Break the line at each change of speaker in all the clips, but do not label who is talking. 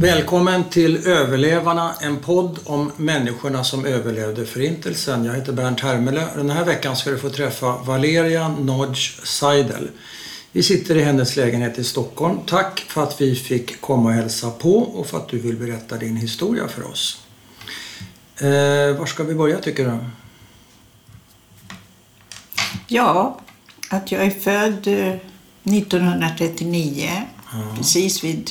Välkommen till Överlevarna, en podd om människorna som överlevde Förintelsen. Jag heter Bernt Hermele. Den här veckan ska du få träffa Valeria Nodge Seidel. Vi sitter i hennes lägenhet i Stockholm. Tack för att vi fick komma och hälsa på och för att du vill berätta din historia för oss. Eh, var ska vi börja tycker du?
Ja, att jag är född eh, 1939, precis vid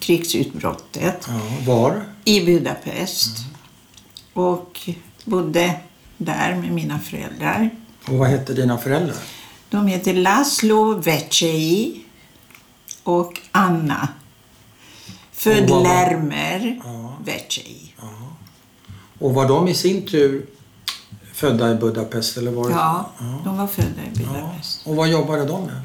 krigsutbrottet,
Ja, var?
i Budapest. Och bodde där med mina föräldrar.
Och vad hette dina föräldrar?
De heter Laszlo Vecei och Anna. Född
Och vad var-
Lermer
Ja.
Vecei.
Och var de i sin tur födda i Budapest? Eller var det-
Ja, de var födda i Budapest.
Och vad jobbade de med?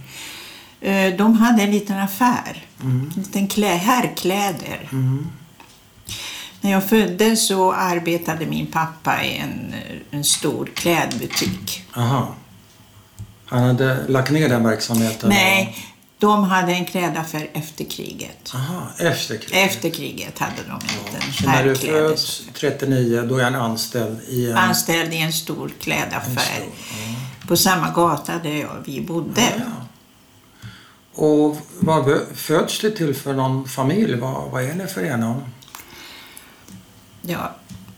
Eh, De hade en liten affär,
Mm.
en liten klä, herrkläder. När jag föddes så arbetade min pappa i en, eh, en stor klädbutik.
Aha. Han hade lagt ner den verksamheten?
Nej, de hade en klädaffär efter kriget.
Aha, efter kriget.
Efter kriget hade de en
Så
liten
när du
herrkläder.
föds 39, då är han anställd i en...
Anställd i en stor klädaffär
En
på samma gata där jag, vi bodde.
Ja. Och vad vö- föds du till för någon familj? Vad, vad är det för ena?
Ja,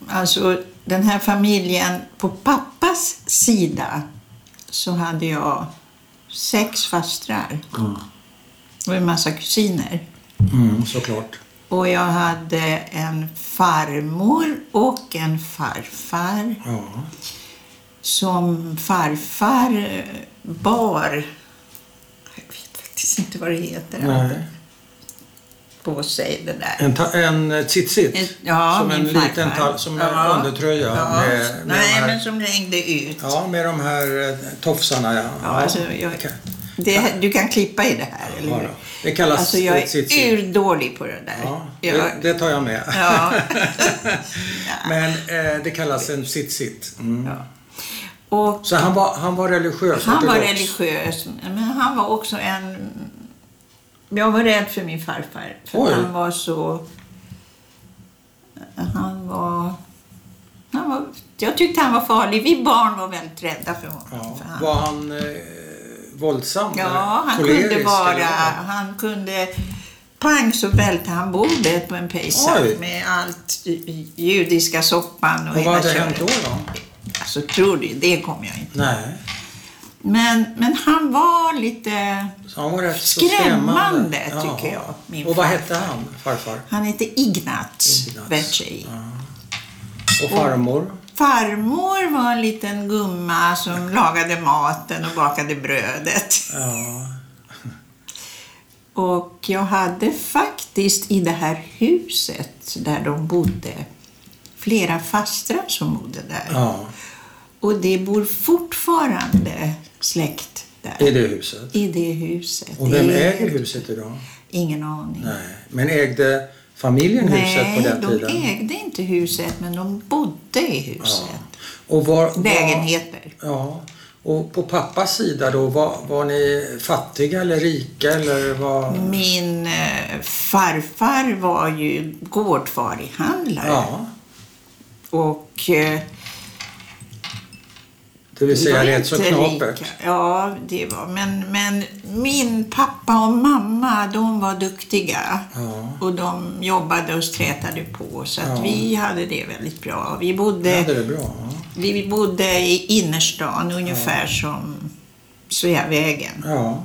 alltså den här familjen, på pappas sida så hade jag sex fastrar och en massa kusiner.
Mm, såklart.
Och jag hade en farmor och en farfar
Ja.
som farfar eh, bar, jag vet faktiskt inte vad det heter,
Nej.
på sig det där.
En, ta- en
Ett-
tzitzit?
Ja,
som en
min
liten
farfar.
tall, som
Ja.
en undertröja
Ja.
med, med de
Nej,
här,
men som hängde ut.
ja, med de här eh, tofsarna. Ja.
Ja, alltså, jag,
Okej.
det, du kan klippa i det här, eller
Ja,
hur?
då. Det kallas
Alltså, jag
tzitzit.
är urdålig på det där.
Ja,
jag,
det, det tar jag med.
ja,
Men eh, det kallas en tzitzit. Mm.
ja. Och
Så han var, han var religiös?
han var
ortodox.
religiös, men han var också en... Jag var rädd för min farfar, för
Oj.
han var så... Han var, han var... Jag tyckte han var farlig. Vi barn var väldigt rädda för honom.
Ja.
För han,
Var han eh, våldsam?
Ja, han
Kolerisk,
kunde vara...
eller?
Han kunde... Pang så välte han bordet på en
Oj.
pejsar med allt i- judiska soppan och
Och
hela
vad hade hänt
köret.
då? då?
Alltså, tror du? Det kommer jag inte.
Nej,
Men, men han var lite...
så han var rätt så
Skrämmande,
Ja.
tycker jag, min
Och vad
farfar.
hette han, farfar?
Han hette Ignat
Ignaz,
Vecchi.
Och farmor?
Farmor var en liten gumma som lagade maten och bakade brödet.
Ja.
Och jag hade faktiskt i det här huset där de bodde flera fastrar som bodde där.
ja,
Och det bor fortfarande släkt där.
i det huset.
I det huset.
Och vem
Det är-
äger huset idag?
Ingen aning.
Nej. Men ägde familjen huset på den
de
tiden?
ägde inte huset men de bodde i huset.
Och var, var,
Lägenheter.
Ja. Och på pappas sida då, var, var ni fattiga eller rika eller var...
Min eh, farfar var ju gårdfarihandlare.
Ja,
Och eh,
det vill
Vi
säga
var
rätt så
inte
knapert.
rika. Ja, det var. Men, men min pappa och mamma, de var duktiga.
Ja.
Och de jobbade och strätade på. Så att
Ja.
vi hade det väldigt bra. Vi
Det
bodde,
hade det bra. ja.
vi bodde i innerstan, ungefär som Sveavägen.
Ja,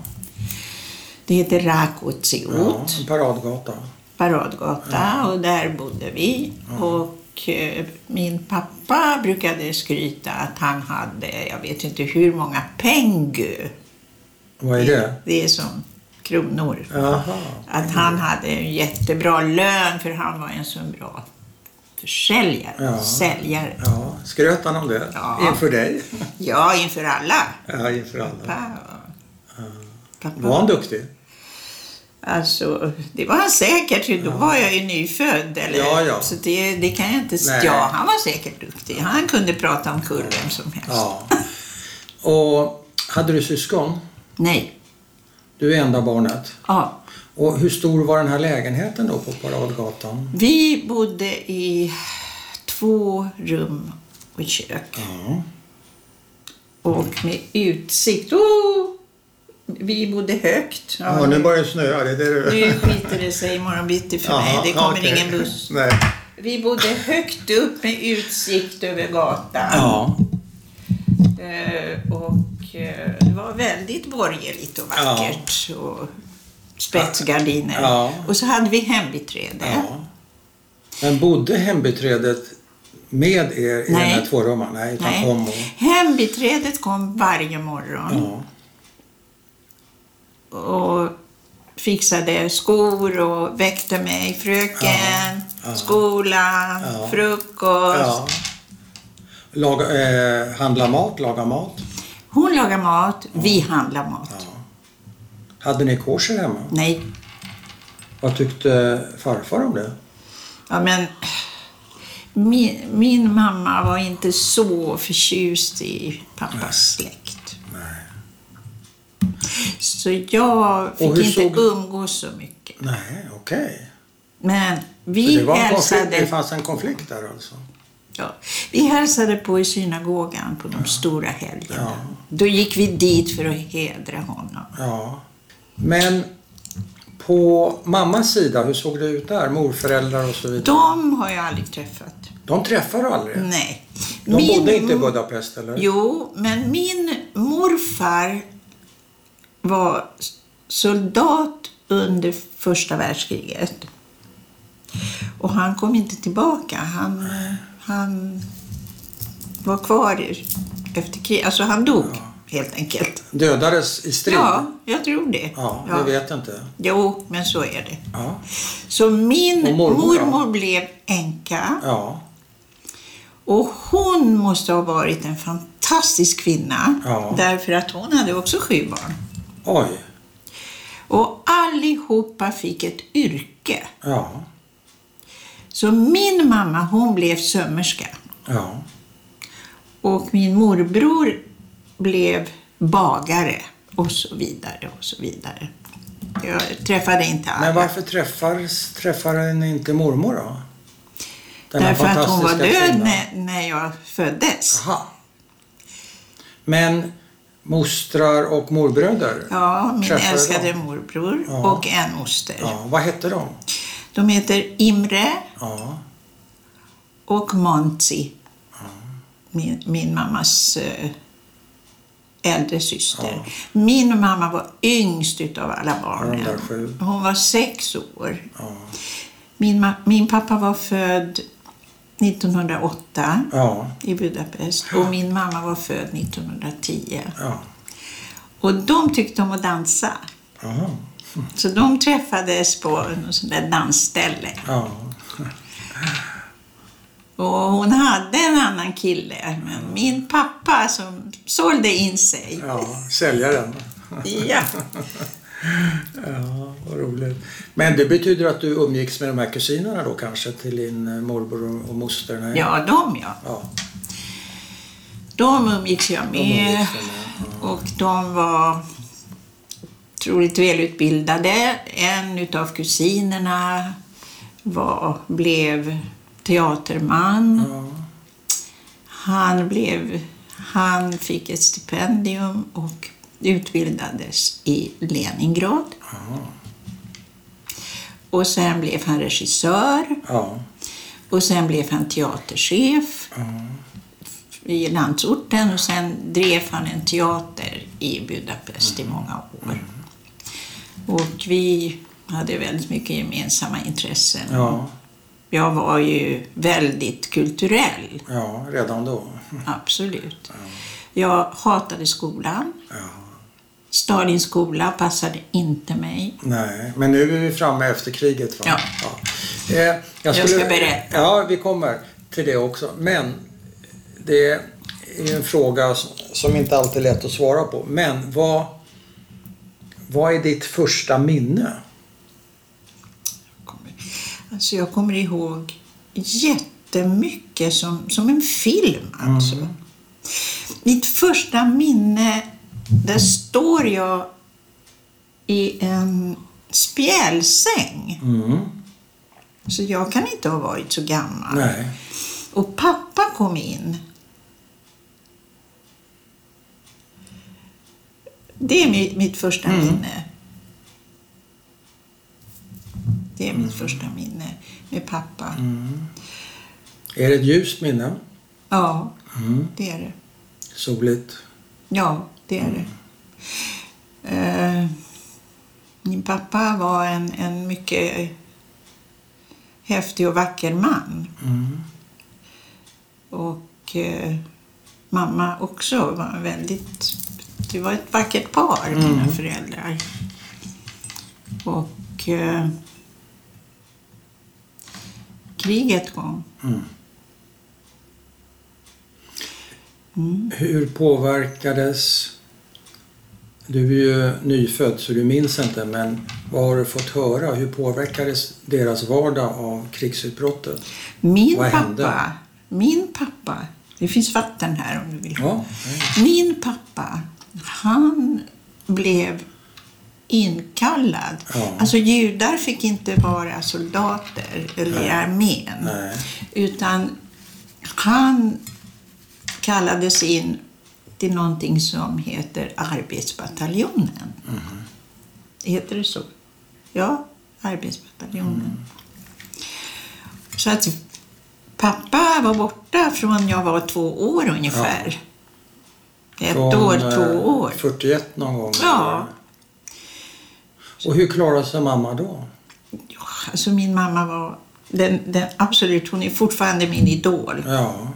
Det heter
ja
Rakotsiot,
en paradgata.
paradgata, och där bodde vi. Och eh, min pappa brukade skryta att han hade, jag vet inte hur många pengu.
Vad är det?
Det är som kronor.
Jaha.
Att han hade en jättebra lön för han var en så bra försäljare.
Ja.
Säljare.
Ja, skröt han om det?
Ja.
Inför dig?
Ja, inför alla.
Ja, inför alla.
Pappa. Pappa.
Var han duktig?
Alltså, det var han säkert. Då var jag ju nyfödd. Eller?
Ja, ja.
Så det, det kan jag inte säga.
Nej.
Ja, han var säkert duktig. Han kunde prata om kurr vem som helst.
Ja. Och hade du syskon?
Nej.
Du är enda barnet.
Ja.
Och hur stor var den här lägenheten då på Paradgatan?
Vi bodde i två rum och kök.
Ja.
Och med utsikt. Oh! Vi bodde högt. Ja,
Ja, nu börjar det snöa. Det är det du...
nu skiter det sig imorgon bitti för mig.
Jaha,
Det kommer
okej.
ingen buss.
Nej.
Vi bodde högt upp med utsikt över gatan.
Ja.
Eh, och eh, det var väldigt borgerligt och vackert. Och spetsgardiner.
Ja.
Och så hade vi hembiträde.
ja. Men bodde hembiträdet med er i den
Nej.
här tvårummaren? Nej, utan
Nej.
kom och...
Hembiträdet kom varje morgon
Ja.
och fixade skor och väckte mig. Fröken, skolan,
Ja.
frukost.
ja. Laga, eh, handla mat, laga mat.
Hon lagar mat, vi
Mm.
handlar mat.
Hade ni kosher hemma?
Nej,
Vad tyckte farfar om det?
ja men min, min mamma var inte så förtjust i pappas släkt. Så jag fick
hur
inte
såg-
umgås så mycket.
Nej, okej.
Men
Så
vi
Det, var en konflikt,
hälsade
det fanns en konflikt där alltså?
Ja. Vi hälsade på i synagogan på de stora helgerna. Då gick vi dit för att hedra honom.
Ja. Men på mammas sida, hur såg det ut där? Morföräldrar och så vidare?
De har jag aldrig träffat.
De träffar du aldrig?
Nej.
De
Min-
bodde inte i Budapest eller?
Jo, men min morfar var soldat under första världskriget. Och han kom inte tillbaka. Han, han var kvar i- efter kriget. Alltså han dog helt enkelt.
Dödades i strid?
Ja, jag tror det.
Ja,
Ja.
det vet jag inte.
Jo, men så är det.
Ja.
Så min
Och mormor
mormor,
då?
blev änka
Ja.
och hon måste ha varit en fantastisk kvinna
Ja.
därför att hon hade också sju barn.
Oj.
Och allihopa fick ett yrke.
Ja.
Så min mamma hon blev sömmerska
Ja.
och min morbror blev bagare och så vidare och så vidare. Jag träffade inte alla.
Men varför träffar, träffar ni inte mormor då? Den här
Därför att hon var
fantastiska
död
kvinnan.
när, när jag föddes.
Aha. Men mostrar och morbröder?
Ja, min
Träffade
älskade
dem?
morbror
Ja.
och en moster.
Ja, vad hette de?
De heter Imre
Ja.
och Monty. Min, min mammas eh, äldre syster. Min mamma var yngst utav alla
Ja, de där
barnen.
sju.
Hon var sex år. Min, ma- min pappa var född 1908
Ja.
i Budapest och min mamma var född 1910.
Ja.
Och de tyckte om att dansa.
Aha.
Så de träffades på något sånt där dansställe.
Ja.
Och hon hade en annan kille, men min pappa som sålde in sig.
ja. Säljaren.
Ja.
Ja, vad roligt. Men det betyder att du umgicks med de här kusinerna då kanske till din eh, morbror och- och moster? Nej.
ja, de ja.
ja.
De umgicks jag
de
med
umgicks väl med.
och de var otroligt välutbildade. En utav kusinerna var, blev teaterman.
Ja.
Han, blev, han fick ett stipendium och utbildades i Leningrad. Och sen blev han regissör
Ja.
och sen blev han teaterchef i landsorten och sen drev han en teater i Budapest i många år. Och vi hade väldigt mycket gemensamma intressen.
Ja.
Jag var ju väldigt kulturell.
ja, redan då.
Absolut. Jag hatade skolan.
Ja.
Stalins skola passade inte mig.
Nej, men nu är vi framme efter kriget. Va?
Ja.
Eh,
Jag ska berätta.
Ja, vi kommer till det också. Men det är en fråga som- som inte alltid är lätt att svara på. Men vad, vad är ditt första minne?
Kommer- Alltså jag kommer ihåg jättemycket som, som en film. Alltså. Mitt första minne, där står jag i en spjälsäng.
Mm.
Så jag kan inte ha varit så gammal.
Nej.
Och pappa kom in. Det är mi- mitt första minne. Det är mitt första minne med pappa.
Är det ett ljust minne?
Ja,
Mm.
det är det.
Soligt?
Ja, det är det. Eh, min pappa var en, en mycket häftig och vacker man. Och eh, mamma också var en väldigt... Det var ett vackert par,
Mm.
mina föräldrar. Och eh, kriget kom.
Mm.
Mm.
Hur påverkades... Du är ju nyfödd så du minns inte men vad har du fått höra? Hur påverkades deras vardag av krigsutbrottet?
Min
Vad
pappa,
hände?
min pappa, det finns vatten här om du vill ha.
Ja.
Min pappa, han blev inkallad.
Ja.
Alltså judar fick inte vara soldater eller i armén.
Nej.
Utan han kallades in till någonting som heter arbetsbataljonen.
Mm-hmm.
Heter det så? Ja, arbetsbataljonen.
Mm.
Så att pappa var borta från jag var två år ungefär. Ett
Från,
år,
eh,
två år.
41 någon gång?
Ja.
Och hur klarade sig mamma då?
Ja, Alltså min mamma var den, den, absolut, hon är fortfarande min idol.
Ja,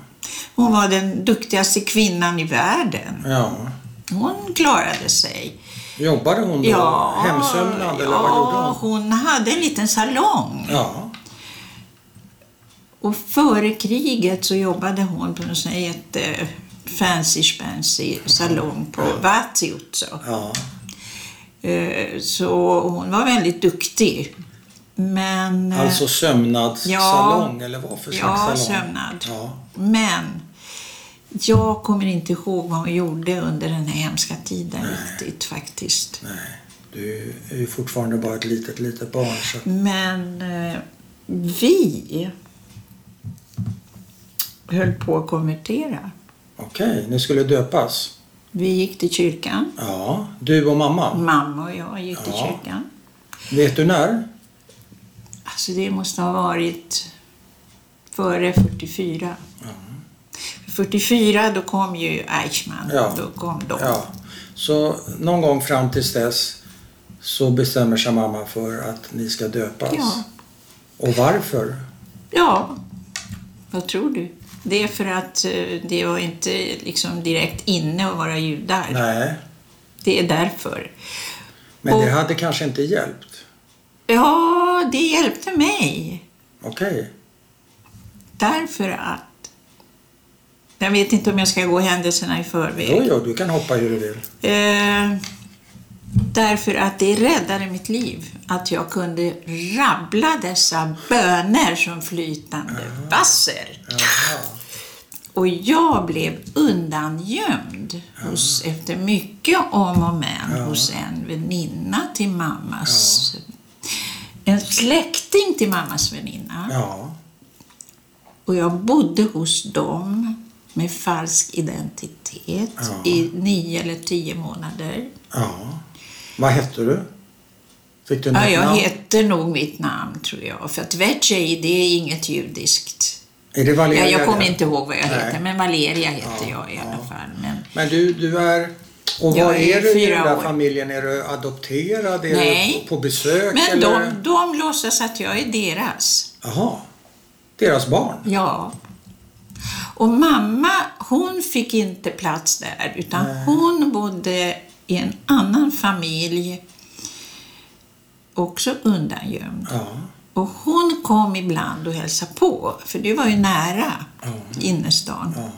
Hon var den duktigaste kvinnan i världen.
ja.
Hon klarade sig.
Jobbade hon då? Hemsömnad eller vad gjorde
ja,
hon?
hon hade en liten salong.
Ja,
Och före kriget så jobbade hon på en sån här jätte eh, fancy spancy salong på Vatsiutso.
ja.
Eh, Så hon var väldigt duktig. Men... eh,
Alltså sömnadssalong eller vad för slags
ja,
salong?
sömnad.
Ja,
Men jag kommer inte ihåg vad hon gjorde under den här hemska tiden riktigt faktiskt.
nej. Du är ju fortfarande bara ett litet, litet barn. Så. att-
Men eh, vi höll på att konvertera.
Okej, ni skulle döpas?
Vi gick till kyrkan.
Ja, du och mamma.
Mamma och jag gick till
Ja.
kyrkan.
Vet du när?
Alltså det måste ha varit före 44. 44 då kom ju Eichmann.
Ja.
Då kom de.
Ja. Så någon gång fram tills dess så bestämmer sig mamma för att ni ska döpas.
Ja.
Och varför?
Ja, vad tror du? Det är för att eh, det var inte liksom direkt inne att vara judar.
Nej,
Det är därför.
men
Och-
det hade kanske inte hjälpt.
Ja, det hjälpte mig.
Okej.
Därför att... Jag vet inte om jag ska gå händelserna i förväg.
Jo, jo, du kan hoppa hur du vill.
Eh, därför att det räddade mitt liv att jag kunde rabbla dessa böner som flytande vasser.
Jaha.
Och jag blev undangömd hos, efter mycket om och men hos en väninna till mammas... En släkting till mammas väninna.
Ja.
Och jag bodde hos dem med falsk identitet i nio eller tio månader.
ja. Vad hette du? Fick du
Ja,
något
jag
namn?
heter nog mitt namn, tror jag. För att Vecei, det är inget judiskt.
Är det Valeria?
Ja, jag kommer
det?
inte ihåg vad jag
Nej.
heter, men Valeria heter
Ja,
jag i alla
ja.
fall. Men
Men du, du är... Och
Jag
vad
är
är du i
fyra
den där
år.
familjen? Är du adopterad? Är
Nej.
du på besök?
Men
eller?
de, de låtsas att jag är deras.
Jaha. Deras barn?
Ja. Och mamma, hon fick inte plats där, utan hon bodde i en annan familj, också undangömd.
Ja.
Och hon kom ibland och hälsade på, för det var ju nära innerstan.
ja.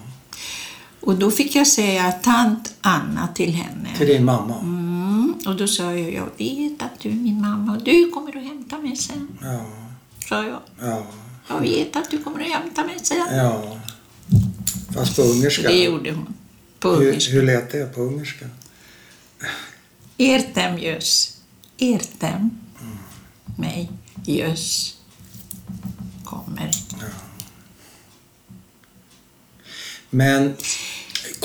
Och då fick jag säga tant Anna till henne.
Till din mamma?
Mm. Och då sa jag, jag vet att du är min mamma och du kommer att hämta mig sen,
Ja.
sa jag.
Ja.
Jag vet att du kommer att hämta mig sen.
Ja. Fast på ungerska?
Det gjorde hon. På
Hur,
ungerska.
hur lät det på ungerska?
Ertem gös. Ertem. mig. Jöss kommer.
Men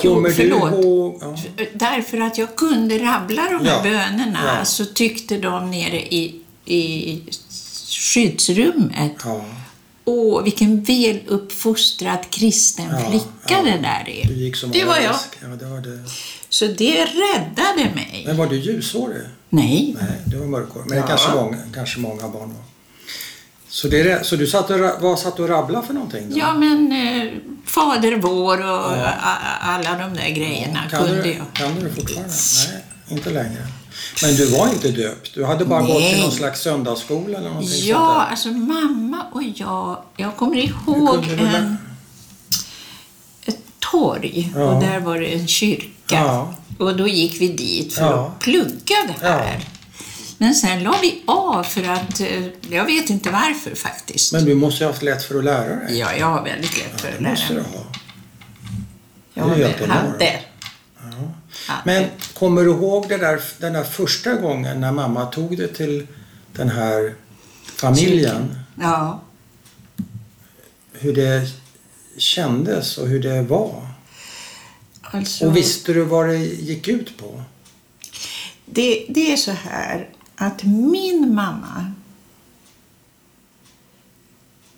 Jo,
kommer du
förlåt.
ihåg... Ja.
Därför att jag kunde rabbla de här
Ja,
bönerna
ja.
så tyckte de nere i, i skyddsrummet
Ja,
Åh, vilken väluppfostrad kristen
Ja,
flicka
ja.
det där
du
är.
gick som
Det var jag.
arabisk. Ja, det var det.
Så det räddade mig.
Men var du ljushårig?
Nej,
Nej, det var mörkhårig. Men
Ja.
det kanske många, kanske många barn var. Så, det, är det- så du satt och, ra- vad satt du och rabblade för någonting? Då?
ja men eh, Fader vår och a- a- alla de där grejerna
kan
kunde
du,
jag.
Kan du det fortfarande? Nej, inte längre. Men du var inte döpt? Du hade bara gått till
Nej.
någon slags söndagsskola eller någonting
Ja,
sånt
alltså mamma och jag, jag kommer
där? Hur
ihåg
kunde du
en,
lä-
ett torg
Ja.
och där var det en kyrka.
Ja.
Och då gick vi dit för
Ja.
att plugga det här. Men sen la vi av för att, eh, jag vet inte varför faktiskt.
Men du måste ju ha haft lätt för att lära dig.
Ja, jag har väldigt lätt för att
Det måste
lära
du
mig.
ha.
Jag
det är ju att
hade.
de har.
hade.
Men kommer du ihåg det där, den där första gången när mamma tog dig till den här familjen?
Ja.
Hur det kändes och hur det var?
Alltså,
Och visste du vad det gick ut på?
Det, det är så här att min mamma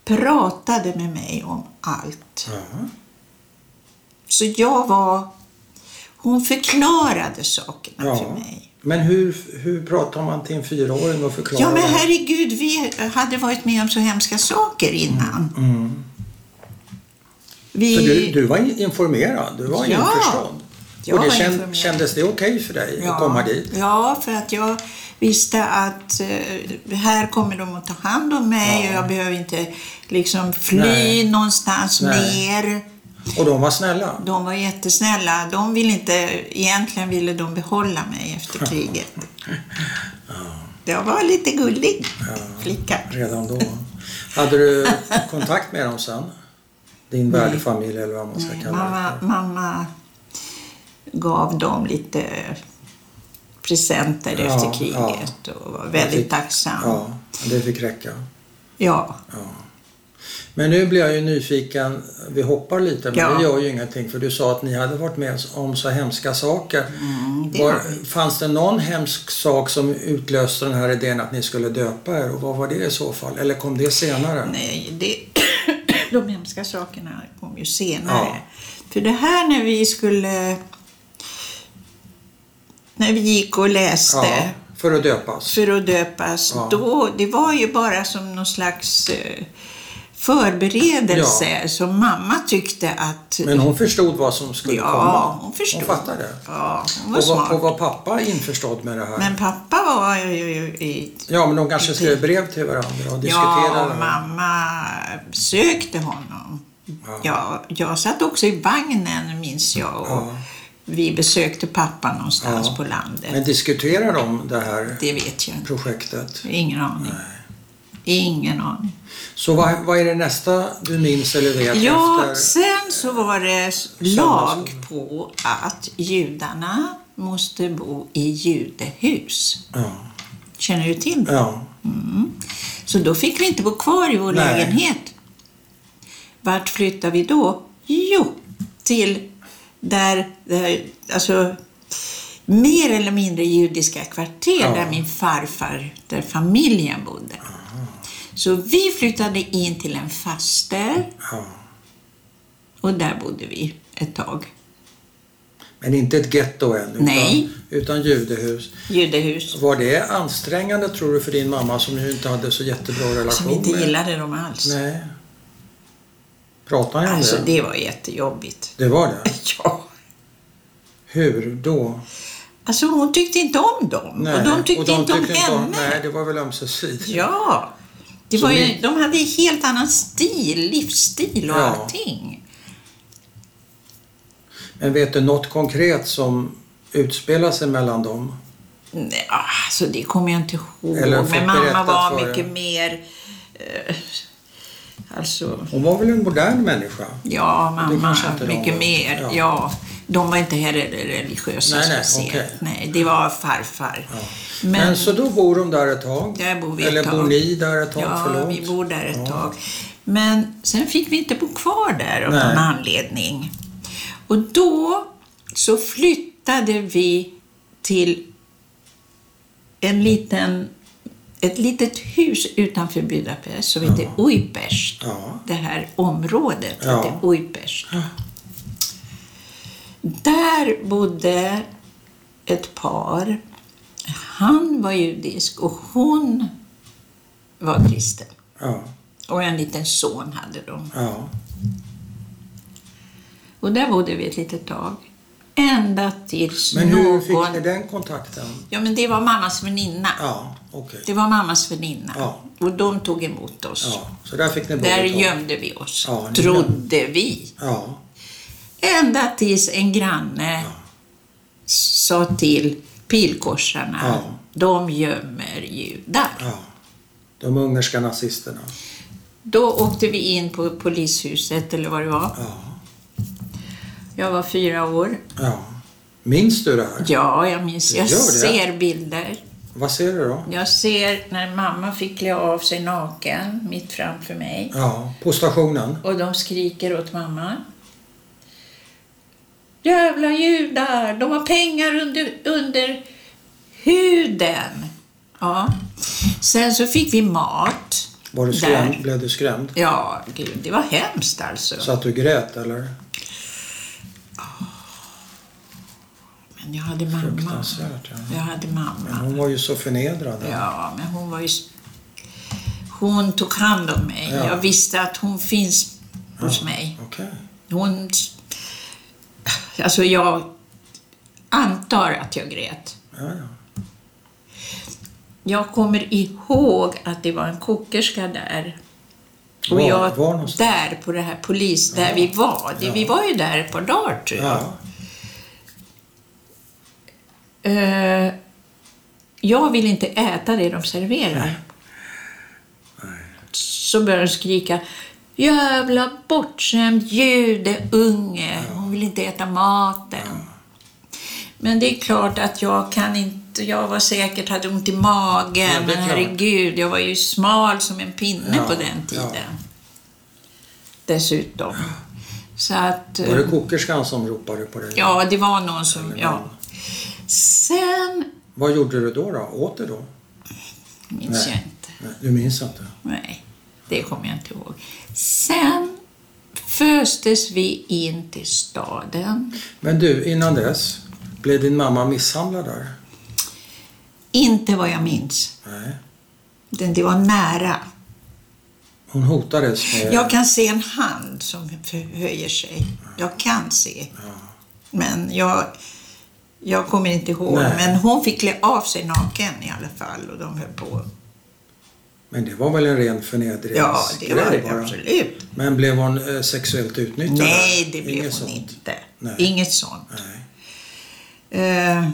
pratade med mig om allt.
Ja.
Så jag var... Hon förklarade sakerna för
ja.
mig.
Men hur, hur pratar man till en fyraåring och förklarar?
Ja, men
det?
herregud, vi hade varit med om så hemska saker innan. Vi,
Så Mm. du, du var in- informerad, du var
Ja,
införstådd.
jag
och det
var
kän-
informerad.
kändes det okej för dig att komma dit?
Ja, för att jag visste att eh, här kommer de att ta hand om mig och jag behöver inte liksom fly
Nej.
någonstans
Nej.
ner.
Och de var snälla?
De var jättesnälla. De ville inte, egentligen ville de behålla mig efter kriget. Jag var lite gullig flicka.
Redan då? Hade du kontakt med dem sen? Din värdfamilj eller vad man ska kalla det
Mamma,
för.
mamma gav dem lite presenter
Ja,
efter kriget och var väldigt
fick-
tacksam. Ja.
Ja, det fick räcka. Men nu blir jag ju nyfiken, vi hoppar lite men
Ja.
det gör ju ingenting för du sa att ni hade varit med om så hemska saker.
Mm, det
var,
har
fanns det någon hemsk sak som utlöste den här idén att ni skulle döpa er och vad var det i så fall? Eller kom det senare?
Nej, det, de hemska sakerna kom ju senare.
Ja.
För det här när vi skulle... När vi gick och läste
Ja, för att döpas.
för att döpas,
Ja.
då, det var ju bara som någon slags eh, förberedelse som mamma tyckte att...
Men hon förstod vad som skulle
Ja,
komma?
hon förstod.
Hon fattade?
Ja, hon var
Och var, och
smart.
var pappa införstådd med det här?
Men pappa var ju, ju, ju i...
ja, men de kanske skrev brev till varandra och diskuterade?
Ja,
det här.
mamma sökte honom.
Ja.
Ja, jag satt också i vagnen, minns jag. Och
Ja.
Vi besökte pappa någonstans
Ja.
på landet.
Men diskuterade de det här
Det vet jag inte.
projektet?
Ingen aning. Ingen aning.
Så vad, vad är det nästa du minns eller vet?
Ja,
efter?
sen så var det lag på att judarna måste bo i judehus.
Ja.
Känner du till det?
ja.
Så då fick vi inte bo kvar i vår
Nej.
lägenhet. Vart flyttade vi då? Jo, till där, där alltså mer eller mindre judiska kvarter
Ja.
där min farfar, där familjen bodde. Så vi flyttade in till en faster
ja.
och där bodde vi ett tag.
Men inte ett getto än? Utan,
Nej.
Utan judehus.
Judehus.
Var det ansträngande tror du för din mamma som ju inte hade så jättebra relation
Som inte
med?
gillade dem alls.
Nej. Pratar ni om
Alltså
det?
det var jättejobbigt.
Det var det?
Ja.
Hur då?
Alltså hon tyckte inte om dem och de tyckte inte om henne.
Nej, det var väl ömsesidigt.
Ja. Det
Så
var ju,
ni-
De hade en helt annan stil, livsstil och
Ja.
allting.
Men vet du något konkret som utspelar sig mellan dem?
Nej, alltså, det kommer jag inte ihåg.
Eller fått
Men mamma
berättat
var
för
mycket
er.
mer... Eh, alltså,
Hon var väl en modern människa?
ja, mamma
kanske inte
var
de
mycket
var.
mer.
Ja.
Ja. De var inte heller religiösa
Nej, nej,
speciellt.
okej.
Nej, det var farfar.
Men,
Men,
så då bor de där ett tag?
Där bor vi
Eller
ett tag.
bor ni där ett tag?
ja,
Förlåt.
vi bor där ett
Ja.
tag. Men sen fick vi inte bo kvar där av
Nej.
någon anledning. Och då så flyttade vi till en liten, ett litet hus utanför Budapest som heter Újpest.
Ja.
Det här området
Ja.
heter Újpest. Där bodde ett par. Han var judisk och hon var kristen.
Ja,
Och en liten son hade de.
ja.
Och där bodde vi ett litet tag. Ända tills
Men hur
någon...
fick ni den kontakten?
Ja, men det var mammas väninna.
Ja, okej.
Det var mammas väninna.
Ja.
Och de tog emot oss.
Ja, så där fick ni bo
Där
ett tag.
gömde vi oss,
Ja, ni
trodde vi.
Ja,
Ända tills en granne sa till pilkorsarna,
Ja.
de gömmer judar.
ja. De ungerska nazisterna.
Då åkte vi in på polishuset, eller vad det var.
Ja,
Jag var fyra år.
ja. Minns du det här?
Ja, jag minns. Jag
Gör det?
ser bilder.
Vad ser du då?
Jag ser när mamma fick klä av sig naken mitt framför mig.
Ja, på stationen.
Och de skriker åt mamma. Jävla judar! De har pengar under, under huden! Ja. Sen så fick vi mat.
Var du
Där.
skrämd? Blev du skrämd?
Ja, gud, det var hemskt alltså.
Så att du grät eller?
Men jag hade mamma.
Fruktansvärt. Ja.
Jag hade
Men
mamma.
hon var ju så förnedrad.
Ja, men hon var ju... Hon tog hand om mig.
Ja.
Jag visste att hon finns hos mig.
Okej.
Hon... Alltså, jag antar att jag grät.
Ja, ja.
Jag kommer ihåg att det var en kokerska där. Och
Var-
jag
var någonstans?
där på det här polis, där vi var. Det, Vi var ju där ett par dagar tror jag.
Ja.
Eh, jag vill inte äta det de serverar. Så börjar de skrika Jävla bortskämd judeunge. Hon vill inte äta maten. Men det är klart att jag kan inte, jag var säkert, hade ont i magen.
Ja, det är
men
klart.
herregud, jag var ju smal som en pinne
Ja,
på den tiden.
ja.
Dessutom. Så att...
Var det kokerskan som ropade på dig?
Ja, det var någon som... Ja. Sen
Vad gjorde du då? då? Åt du då? Nej.
minns jag inte.
Nej, du minns inte?
Nej, det kommer jag inte ihåg. Sen föstes vi in till staden.
Men du, innan dess, blev din mamma misshandlad där?
Inte vad jag minns.
Nej.
Det det var nära.
Hon hotades med...
Jag kan se en hand som höjer sig. Jag kan se. Men jag, jag kommer inte ihåg.
Nej.
Men hon fick klä av sig naken i alla fall och de höll på.
Men det var väl en ren
Ja, det var
förnedringsgrej
det absolut.
Men blev hon eh, sexuellt utnyttjad?
Nej,
där?
det blev
Inget
hon
sånt?
inte.
Nej.
Inget sånt.
Nej.
Eh,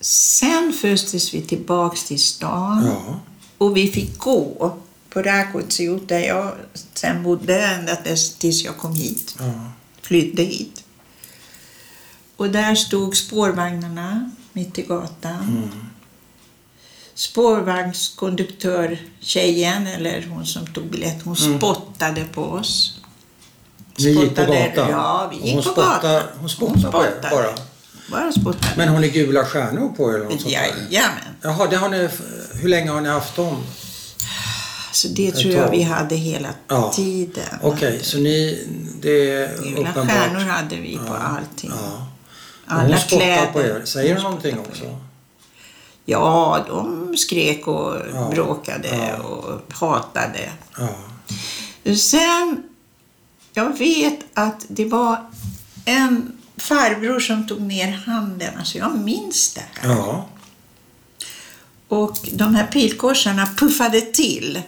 sen föstes vi tillbaks till stan
Ja.
och vi fick gå på Rakotsiot där jag sen bodde ända dess- tills jag kom hit,
ja.
flydde hit. Och där stod spårvagnarna mitt i gatan.
Mm.
Spårvagnskonduktörtjejen, eller hon som tog biljett, hon spottade på oss.
Mm. Ni gick på
Spottade-
gatan?
Ja, vi
Och
gick
hon
på
spottade,
gatan.
Hon spottade på er bara?
Bara spottade.
Men har ni gula stjärnor på er eller något sånt där?
Jajamän.
Jaha, det har ni... Hur länge har ni haft dem?
Så det tror jag
tag.
vi hade hela
Ja.
tiden.
Okej, så ni... Det är
Gula
uppenbart.
stjärnor hade vi på allting.
Ja. Och
Alla
hon spottar
kläder.
på er. Säger hon någonting
spottar på er.
också?
Ja, de skrek och
Ja.
bråkade och hatade.
Ja.
Sen, jag vet att det var en farbror som tog ner handen. Alltså jag minns det här.
Ja.
Och de här pilkorsarna puffade till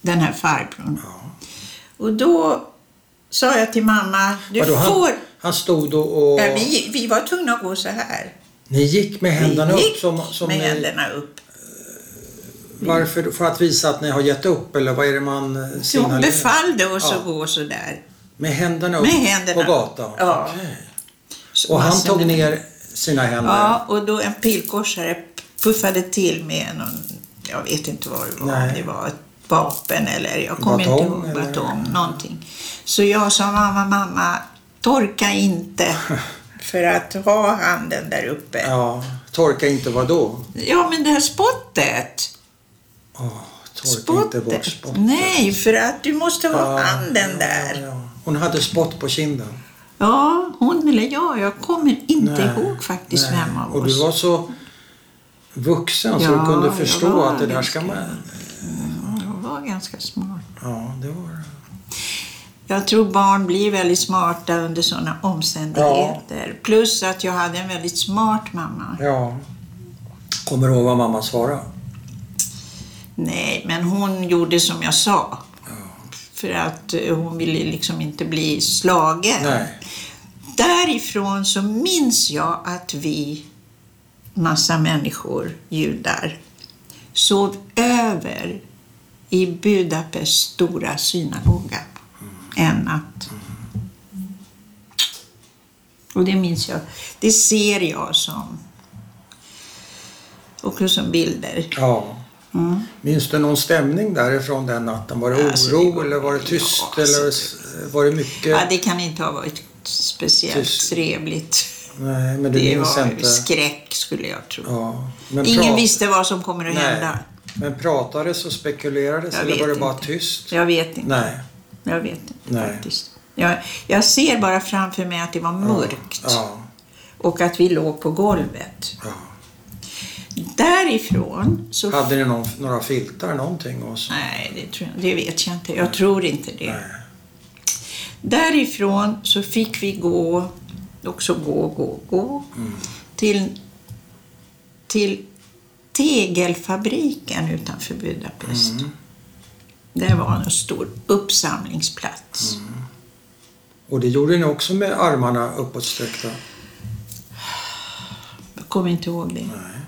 den här farbrorn.
ja.
Och då sa jag till mamma, du
Vadå,
får...
han, han stod då och...
Ja, vi, vi var tvungna att gå så här.
Ni gick med händerna
vi
upp som, som
med
ni,
händerna upp.
Varför? då? För att visa att ni har gett upp eller vad är det man eh,
Så hon
signalerar?
befallde oss
Ja.
att gå så där.
Med händerna upp
Med händerna.
på gatan?
Ja.
Okej.
Så
Och han
massor
tog
med-
ner sina händer?
Ja, och då en pilkorsare puffade till med någon, jag vet inte vad det var,
Nej.
om det var ett vapen eller jag kommer
Batong
inte ihåg,
eller-
batong, någonting. Så jag sa mamma, mamma, torka inte för att ha handen där uppe. Ja,
Ja, torka inte vad då?
men det här spottet.
Åh, torka inte bort
Spottet.
spottet.
Nej, för att du måste ha
Ja,
handen
ja,
där.
ja. Hon hade spott på kinden.
Ja, hon eller jag, jag kommer inte
Nej,
ihåg faktiskt
nej.
vem av
Och
oss.
du var så vuxen så du
Ja,
kunde
jag
förstå
var
att det där
ganska-
ska man...
Jag var ganska smart.
Ja, det var det.
Jag tror barn blir väldigt smarta under sådana omständigheter. Plus att jag hade en väldigt smart mamma.
Ja. Kommer du ihåg vad mamma svarade?
Nej, men hon gjorde som jag sa. För att eh, hon ville liksom inte bli slagen.
Nej.
Därifrån så minns jag att vi, massa människor, judar, sov över i Budapest stora synagoga en natt. Och det minns jag. Det ser jag som också som bilder.
Ja. Mm. Minns du någon stämning därifrån den natten? Var det oro
Alltså, det var-
eller var det tyst?
Ja, alltså,
eller var det mycket?
Ja, det kan inte ha varit speciellt
Tyst.
trevligt.
Nej, men du
Det
minns
var
inte?
skräck skulle jag tro.
Ja. Men
Ingen
prat-
visste vad som kommer att
Nej.
hända.
Men pratades och spekulerades
Jag
eller var det
vet
bara
inte.
tyst?
Jag vet inte.
Nej.
Jag vet inte
Nej.
faktiskt. Jag, jag ser bara framför mig att det var mörkt
Ja.
och att vi låg på golvet.
ja.
Därifrån så...
Hade ni någon, några filtar, någonting? Och så?
Nej, det, tror jag, det vet jag inte. Jag tror inte det.
Nej.
Därifrån så fick vi gå, också gå, gå, gå,
Mm.
till, till tegelfabriken utanför Budapest.
Mm.
Det var en stor uppsamlingsplats.
Mm. Och det gjorde ni också med armarna uppåtsträckta?
Jag kommer inte ihåg det.
Nej.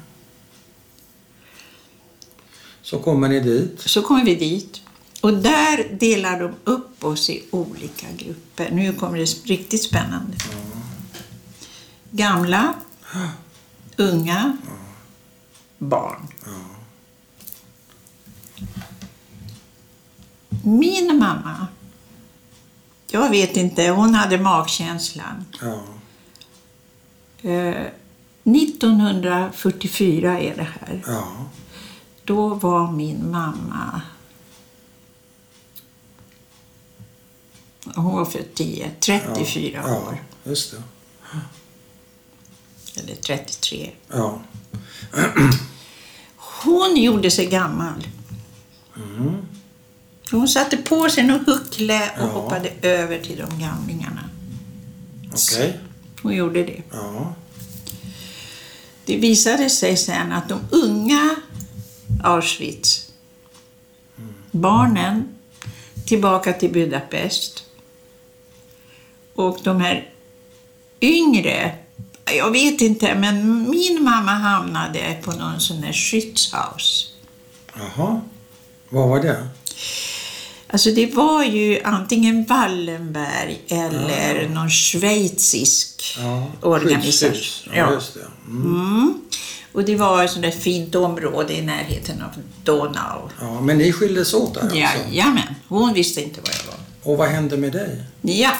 Så kommer ni dit.
Så kom vi dit och där delar de upp oss i olika grupper. Nu kommer det riktigt spännande. Gamla, unga, barn. Min mamma, jag vet inte, hon hade magkänslan.
Ja.
Eh, 1944 är det här.
ja.
Då var min mamma... Hon var född 10, 34
ja.
år.
Ja, just det.
Eller 33.
Ja.
Hon gjorde sig gammal. Hon satte på sig något huckle och
Mm. Ja.
hoppade över till de gamlingarna.
Okej.
Hon gjorde det.
Ja.
Det visade sig sen att de unga Auschwitz, barnen tillbaka till Budapest och de här yngre, jag vet inte, men min mamma hamnade på någon sån här skyddshaus.
Jaha. Vad var det?
Alltså det var ju antingen Wallenberg eller någon schweizisk
Ja. skyddshus.
organisation.
Ja, just det. Mm.
Mm. Och det var ett sånt där fint område i närheten av Donau.
Ja, men ni skildes åt där också.
Jajamän, hon visste inte vad jag var.
Och vad hände med dig?
Ja.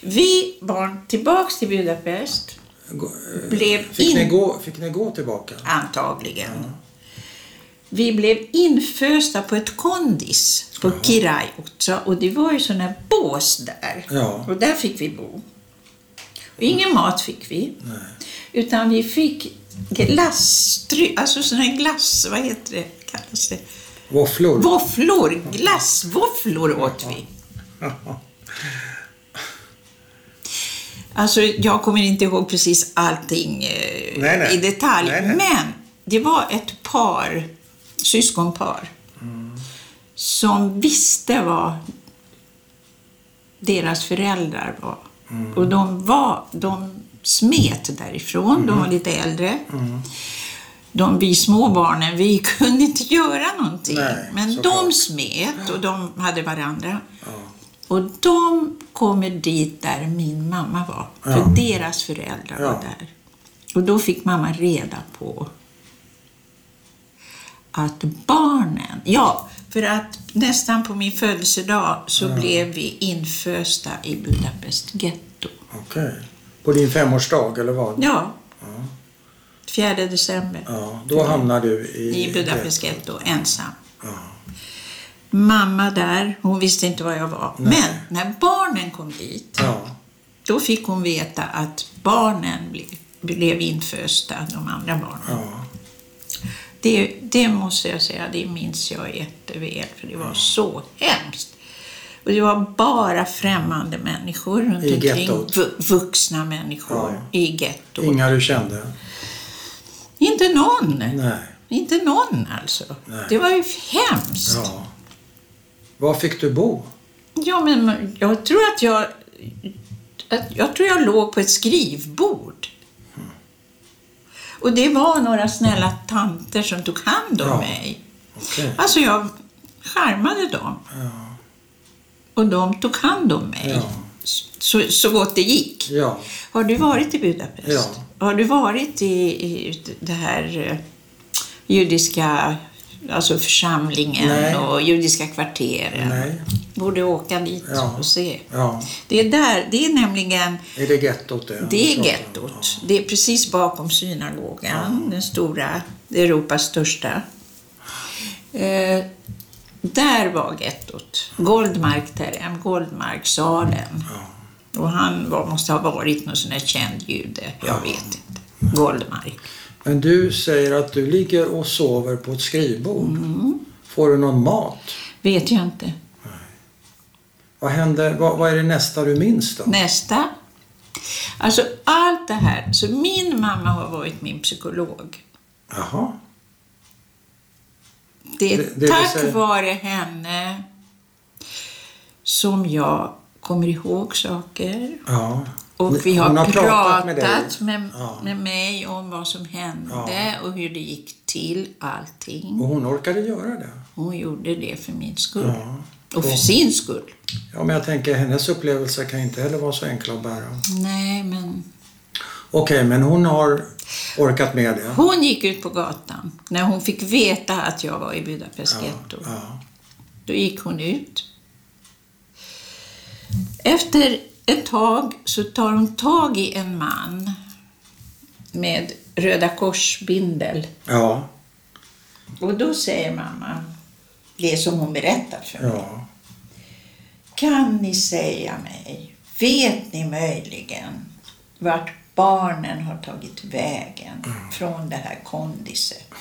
Vi barn tillbaks till Budapest,
Gå- eh,
Blev
fick,
in-
ni gå, fick ni gå tillbaka?
antagligen. Vi blev infösta på ett kondis på Kiraj också och det var ju sådana här bås där.
Ja.
Och där fick vi bo. Och ingen mat fick vi. Utan vi fick glass, alltså sådana här glass, vad heter det, kallas det?
Våfflor?
Våfflor, glassvåfflor åt vi. Alltså, jag kommer inte ihåg precis allting eh,
Nej, nej.
i detalj,
Nej, nej.
men det var ett par, syskonpar,
Mm.
som visste vad deras föräldrar var. Och de, var, de smet därifrån, de
Mm.
var lite äldre. De, vi små barnen, vi kunde inte göra någonting.
Nej,
men
såklart.
de smet och de hade varandra. Och de kommer dit där min mamma var, för
Ja.
deras föräldrar var
Ja.
där. Och då fick mamma reda på att barnen... Ja, för att nästan på min födelsedag så blev vi infösta i Budapest getto.
Okej. På din femårsdag eller vad?
Ja, 4 december.
Ja, då hamnar du i...
I Budapest getto, ensam.
Ja.
Mamma där, hon visste inte var jag var.
Nej.
Men när barnen kom dit,
Ja.
då fick hon veta att barnen ble, blev infösta, de andra barnen.
ja.
Det, det måste jag säga, det minns jag jätteväl, för det var så hemskt. Och det var bara främmande människor runt
I
omkring.
gettot.
vu- Vuxna människor i gettot.
Inga du kände?
Inte någon!
Nej.
Inte någon alltså.
Nej.
Det var ju hemskt.
Ja. Var fick du bo?
Ja, men jag tror att jag... Att jag tror jag låg på ett skrivbord. Och det var några snälla tanter som tog hand om
Ja.
mig.
Okej.
Alltså jag charmade dem. Och de tog hand om mig.
Ja.
Så, så gott det gick.
Ja.
Har du varit i Budapest?
Ja.
Har du varit i, i det här eh, judiska alltså församlingen
Nej.
och judiska kvarteren?
Nej.
Borde åka dit
Ja.
och se.
Ja.
Det är där, det är nämligen
Är det gettot det?
det är gettot. Det är precis bakom synagogan, den stora, Europas största. Eh, där var gettot. Goldmark Terem, Goldmarksalen. Och han var, måste ha varit någon sån där känd jude, jag vet inte. Goldmark.
Men du säger att du ligger och sover på ett skrivbord.
Mm.
Får du någon mat?
Vet jag inte.
Vad händer? Vad, vad är det nästa du minns då?
Nästa. Alltså allt det här. Så min mamma har varit min psykolog.
Jaha.
Det är
Det- det vill
tack
säga-
vare henne som jag kommer ihåg saker.
Ja. Ni-
Och vi har,
hon
pratat,
med
med,
dig.
med,
Ja.
mig om vad som hände och hur det gick till allting.
Och hon orkade göra det.
Hon gjorde det för min skull.
Ja.
Och för sin skull.
ja, men jag tänker hennes upplevelser kan inte heller vara så enkla att bära.
Nej, men...
Okej, men hon har orkat med det.
Hon gick ut på gatan när hon fick veta att jag var i Budapest getto.
Ja.
Då gick hon ut. Efter ett tag så tar hon tag i en man med Röda korsbindel.
Ja.
Och då säger mamma, det som hon berättat för mig.
Ja.
Kan ni säga mig, vet ni möjligen vart barnen har tagit vägen
Mm.
från det här kondiset?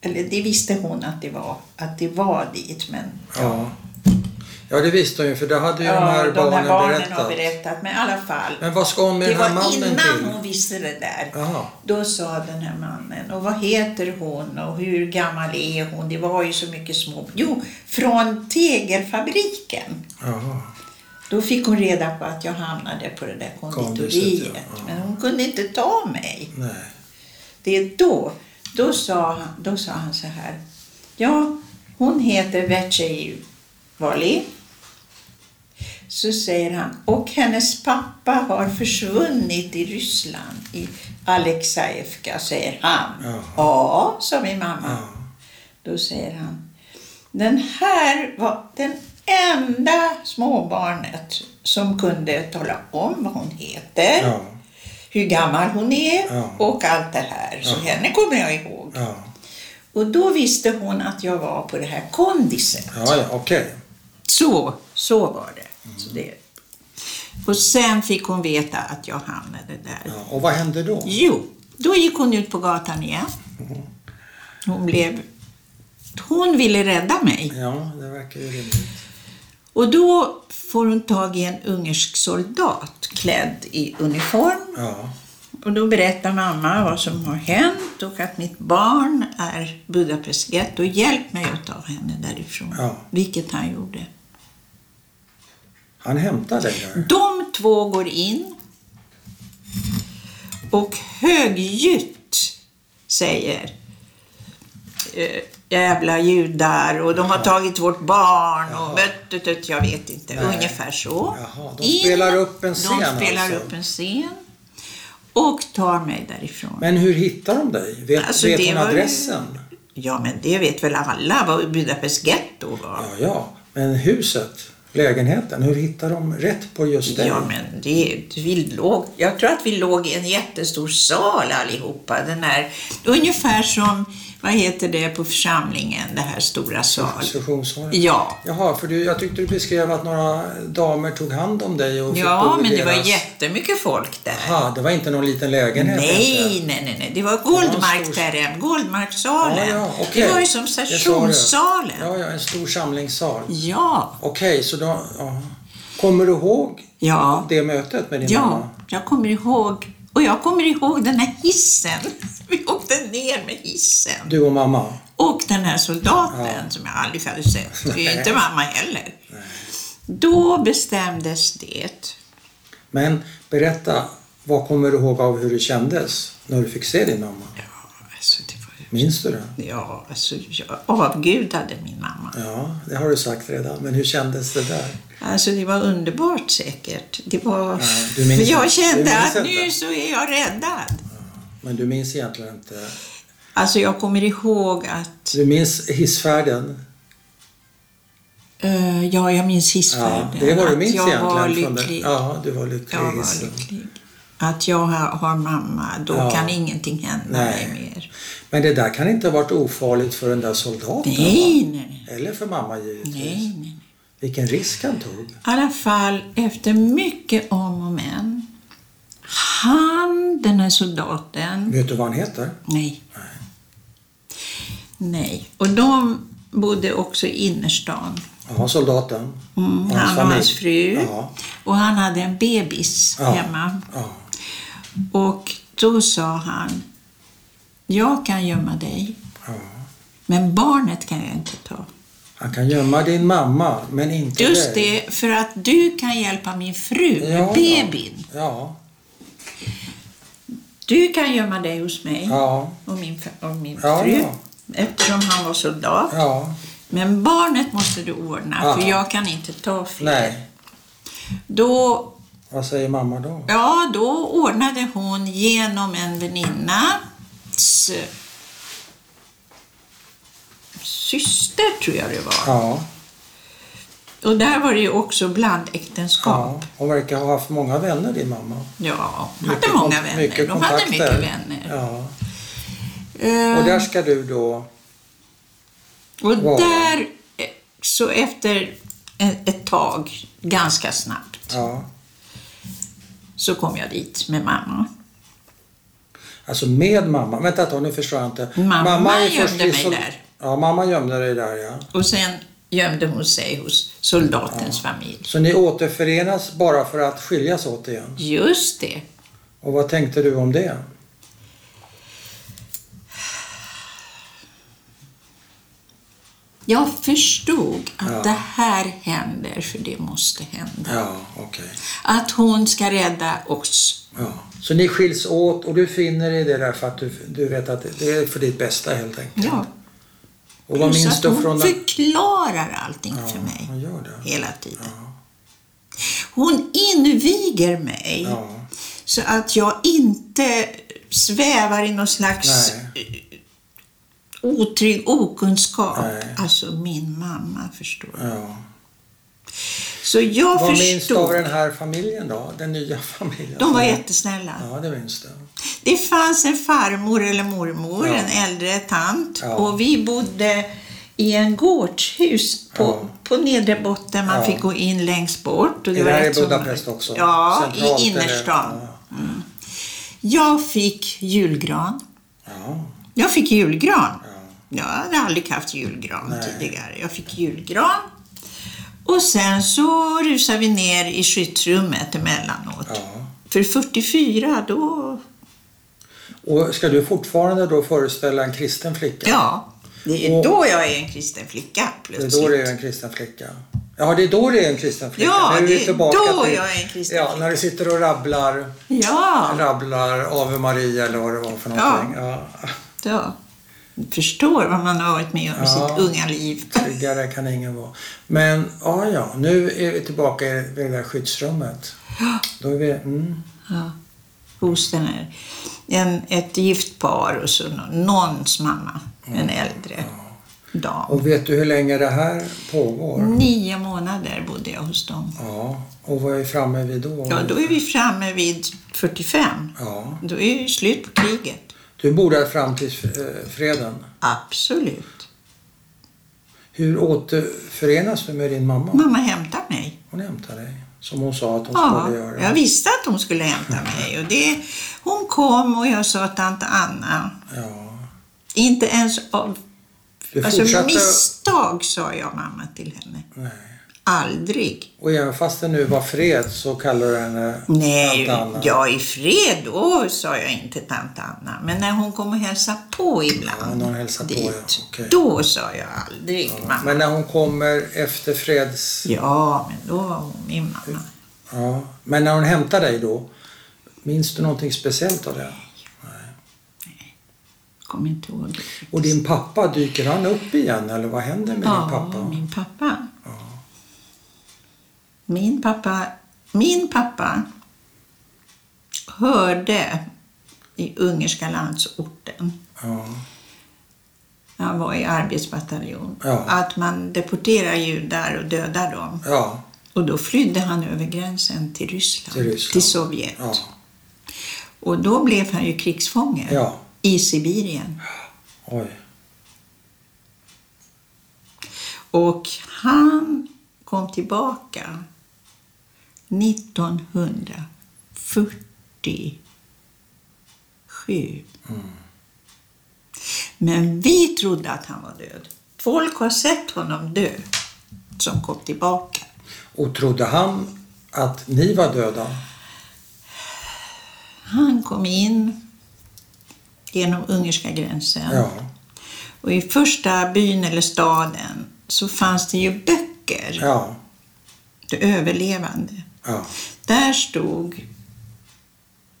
Eller det visste hon att det var, att det var dit, men
Ja. Ja, det visste hon ju för det hade ju
ja,
de här barnen,
har
berättat.
berättat. Men i alla fall,
Men vad ska hon med
det
den här
var
mannen
innan
till?
hon visste det där.
Jaha.
Då sa den här mannen, och vad heter hon och hur gammal är hon? Det var ju så mycket små... Jo, från tegelfabriken.
Jaha.
Då fick hon reda på att jag hamnade på det där konditoriet.
Kondiset, ja.
Men hon kunde inte ta mig.
Nej.
Det är då, då sa, han- då sa han så här. Ja, hon heter Vecei Vali. Så säger han, och hennes pappa har försvunnit i Ryssland, i Alexejevka, säger han.
Ja.
Ja, sa min mamma.
Ja.
Då säger han, den här var den enda småbarnet som kunde tala om vad hon heter
Ja.
hur gammal hon är
Ja.
och allt det här. Så henne kommer jag ihåg.
Ja.
Och då visste hon att jag var på det här kondiset.
Ja, ja, okej.
Så, så var det. Så det. Och sen fick hon veta att jag hamnade där.
Ja. Och vad hände då?
Jo, då gick hon ut på gatan igen.
Mm.
Hon blev... Hon ville rädda mig.
Ja, det verkar ju rimligt.
Och då får hon tag i en ungersk soldat klädd i uniform.
Ja.
Och då berättar mamma vad som har hänt och att mitt barn är Budapest getto. Hjälp mig att ta henne därifrån.
Ja.
Vilket han gjorde.
Han hämtade dig där.
De två går in och högljutt säger eh, jävla judar och de har
Jaha.
tagit vårt barn
Jaha.
och bött, bött, bött, jag vet inte.
Nej.
Ungefär så.
Jaha, de spelar upp en scen
De spelar
alltså.
upp en scen och tar mig därifrån.
Men hur hittar de dig? Vet,
Alltså,
vet
det
hon
var ju-
adressen?
Ja, men det vet väl alla vad Budapest getto var.
Ja, ja. Men huset, lägenheten, hur hittar de rätt på just dig?
Ja, men det, vi låg, jag tror att vi låg i en jättestor sal allihopa. Den här, ungefär som, vad heter det på församlingen, det här stora sal.
Instruktionshåret.
Ja,
Jaha, för du, jag tyckte du beskrev att några damer tog hand om dig och fick bo
ja
i
men det var
deras-
jättemycket folk där.
Aha, det var inte någon liten lägenhet?
Nej,
inte.
nej, nej, nej. Det var
stor-
Goldmark-terren, Goldmarksalen.
Ja, ja, okej.
Det var ju som
Det sa du.
stationssalen.
Ja, ja, en stor samlingssal.
Ja,
Okej, så då... Ja. Kommer du ihåg
ja,
det mötet med din mamma?
ja. Jag kommer ihåg. Och jag kommer ihåg den här hissen. Vi åkte ner med hissen.
Du och mamma?
Och den här soldaten som jag aldrig hade sett. Det är ju inte mamma heller. Då bestämdes det.
Men berätta, vad kommer du ihåg av hur det kändes när du fick se din mamma?
Ja, alltså det var ju...
Minns du det?
Ja, alltså jag avgudade min mamma.
Ja, det har du sagt redan. Men hur kändes det där?
Alltså det var underbart säkert. Det var...
du minns
För
inte.
jag
Du
kände
minns
att
inte.
nu så är jag räddad.
Men du minns egentligen inte...
Alltså jag kommer ihåg att...
Du minns hissfärden?
eh, ja, jag minns
Ja,
hissfärden.
det är vad du
att
minns
jag var
egentligen. från den-
lycklig.
Ja, du var lycklig
Jag
i
var
hissen.
lycklig. Att jag har, har mamma, då
Ja.
kan ingenting hända
Nej.
mig mer.
Men det där kan inte ha varit ofarligt för den där soldaten?
Nej, nej,
va? Eller för mamma givetvis.
nej, nej.
Vilken risk han tog.
I alla fall, efter mycket om och men. Han, den här soldaten,
Vet du vad han heter?
Nej. Nej. Och de bodde också i innerstan.
Ja, soldaten.
Mm, han och
familj.
hans fru.
Ja.
Och han hade en bebis
Ja.
hemma.
ja.
Och då sa han, jag kan gömma dig,
ja.
men barnet kan jag inte ta.
Han kan gömma din mamma, men inte
Just
dig.
det, för att du kan hjälpa min fru med
Ja,
bebin.
Ja,
Du kan gömma dig hos mig
ja,
och min, fr- och min
Ja,
fru.
ja.
Eftersom han var soldat.
ja.
Men barnet måste du ordna,
Ja.
för jag kan inte ta fler.
Nej.
Då,
Vad säger mamma då?
ja, då ordnade hon genom en eh, väninna s- syster, tror jag det var.
Ja,
Och där var det ju också blandäktenskap.
ja. Hon verkar ha haft många vänner, din mamma.
Ja, de
Mycket
hade
kon-
många vänner.
mycket
De hade
kontakter.
mycket vänner.
Ja.
Eh,
Och där ska du då...
och
Wow.
där, eh, så efter e- ett tag, ganska snabbt,
Ja.
så kom jag dit med mamma.
Alltså med mamma. Vänta ett tag, nu förstår jag inte.
Mamma
är
gömde
först i
mig
sol-
där.
Ja, mamma gömde dig där, ja.
Och sen gömde hon sig hos soldatens familj.
Så ni återförenas bara för att skiljas åt igen?
Just det.
Och vad tänkte du om det?
Jag förstod att
Ja.
det här händer för det måste hända.
Ja, okej.
Att hon ska rädda oss.
Ja. Så ni skiljs åt och du finner dig i det där för att du, du vet att det är för ditt bästa helt enkelt?
Ja.
Och vad
plus
minns
att
du
hon
från den...
förklarar allting för
Ja,
mig
hon gör det.
hela tiden. Hon inviger mig
Ja.
så att jag inte svävar i någon slags eh, otrygg okunskap.
Nej.
Alltså min mamma förstår.
Ja.
Så jag
Vad minns du av
förstod.
den här familjen då? Den nya familjen?
De var jättesnälla.
Ja, det minns du.
Det fanns en farmor eller mormor,
Ja.
en äldre tant
Ja.
och vi bodde i en gårdshus på,
Ja.
på nedre botten. Man
Ja.
fick gå in längst bort. Och
Det
var
där
rätt
är
så
Budapest
mörkt.
också.
Ja,
Centralt
i
eller-
innerstan. Mm. Jag fick julgran.
Ja.
Jag fick julgran. Jag hade aldrig haft julgran tidigare. Jag fick julgran. Och sen så rusade vi ner i skyddsrummet emellanåt.
Ja.
För 44, då...
Och ska du fortfarande då föreställa en kristen flicka?
Ja, det är
Och-
då jag är en kristen flicka
Det är
plötsligt.
då det är en kristen flicka. Ja, det är då det är en kristen flicka.
Ja,
när du
det är
tillbaka
då
till,
jag är en kristen
Ja,
flicka.
när du sitter och rabblar,
Ja,
rabblar Ave Maria eller vad det var för
Ja.
någonting. Ja.
då. förstår vad man har varit med om i
Ja.
sitt unga liv.
Tryggare kan ingen vara. Men ja, ja, nu är vi tillbaka i det där skyddsrummet. Då är vi, mm,
Ja. Hos den här. En, ett gift par och så nå- någons mamma, en äldre
Mm.
dam.
och vet du hur länge det här pågår?
Nio månader bodde jag hos dem.
Ja, och vad är vi framme vid då?
Ja, då är vi framme vid 45.
Ja.
Då är det slut på kriget.
Du bor där fram till eh, freden.
Absolut.
Hur återförenas du med din mamma?
Mamma hämtar mig.
Hon hämtar dig, som hon sa att hon
Mm. Ja,
skulle göra.
jag visste att hon skulle hämta mig. Och det, hon kom och jag sa tant Anna.
Ja.
Inte ens av
Du
alltså,
fortsatte...
misstag sa jag mamma till henne.
Nej.
Aldrig.
Och även fast det nu var fred så kallar du henne
Nej,
allt annat.
jag i fred då sa jag inte tant Anna. Men när hon kom och hälsade på
Ja,
ibland.
när hon hälsar på, ja. Okej.
Då sa jag aldrig mamma.
Men när hon kommer efter freds...
Ja, men då var hon min mamma.
Ja. Men när hon hämtar dig då, minns du någonting speciellt av det?
Kommer inte ihåg. det.
Och din pappa, dyker han upp igen eller vad händer med
ja,
din pappa?
min pappa. Min pappa. Min pappa hörde i ungerska landsorten,
Ja.
han var i arbetsbataljon,
Ja.
att man deporterar judar och dödar dem.
ja,
Och då flydde han över gränsen till Ryssland,
Till Ryssland.
Sovjet.
ja,
Och då blev han ju krigsfånge
ja.
i Sibirien.
Oj.
Och han kom tillbaka 1947. Men vi trodde att han var död. Folk har sett honom dö, som kom tillbaka.
Och trodde han att ni var döda?
Han kom in genom ungerska gränsen.
Ja.
Och i första byn eller staden så fanns det ju böcker,
Ja.
de överlevande.
Ja.
Där stod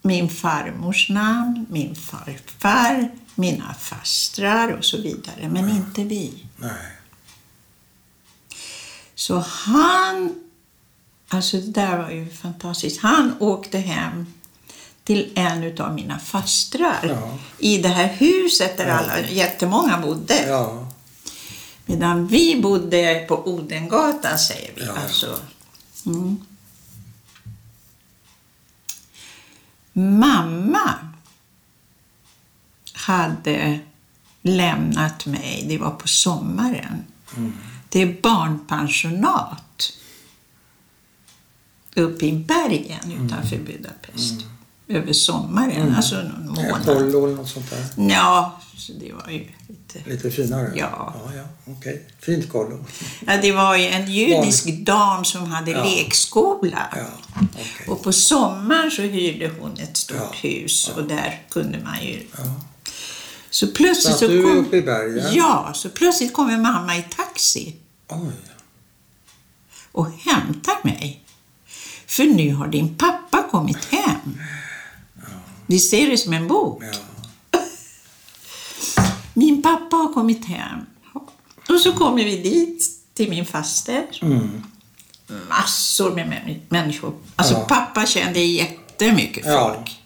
min farmors namn, min farfar, mina fastrar och så vidare, men inte vi.
Nej.
Så han, alltså det där var ju fantastiskt, han åkte hem till en av mina fastrar
Ja.
i det här huset där alla, jättemånga bodde.
Ja.
Medan vi bodde på Odengatan, säger vi.
Ja, ja.
Alltså. Mm. Mamma hade lämnat mig, det var på sommaren.
Mm.
Det är barnpensionat uppe i bergen utanför
Mm.
Budapest. Över sommaren, alltså någon månad.
Apollo eller något sånt där.
Ja, så det var ju lite...
Lite finare?
Ja.
ja, ja. Okej. Fint kollo.
Ja, det var ju en judisk dam som hade
Ja.
lekskola.
Ja. Okej.
Och på sommaren så hyrde hon ett stort
Ja.
hus och där kunde man ju...
Ja.
Så plötsligt
Så att
så
du är
kom...
uppe i bergen?
Ja, så plötsligt kommer mamma i taxi
Oj.
och hämtar mig. För nu har din pappa kommit hem. Vi ser det som en bok.
Ja.
Min pappa har kommit hem. Och så kommer vi dit, till min faster.
Mm.
Massor med män- människor. Alltså
Ja.
pappa kände jättemycket
Ja.
folk.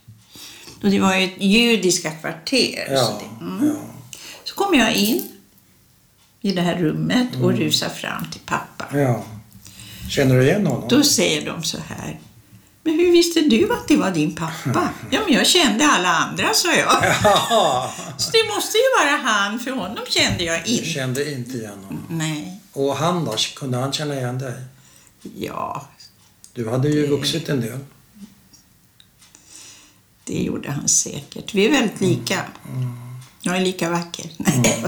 Och det var ju ett judiska kvarter. Så,
Ja.
det, mm.
ja.
så kom jag in i det här rummet
Mm.
och rusar fram till pappa.
ja. Känner du igen honom?
Då säger de så här. Men hur visste du att det var din pappa? Ja, men jag kände alla andra, sa jag.
Haha!
Så det måste ju vara han, för honom kände jag
Du
inte.
kände inte igen honom.
Nej.
Och han då? Kunde han känna igen dig?
Ja,
Du hade ju vuxit en del.
det gjorde han säkert. Vi är väldigt
Mm.
lika. Jag är lika vacker. Nej,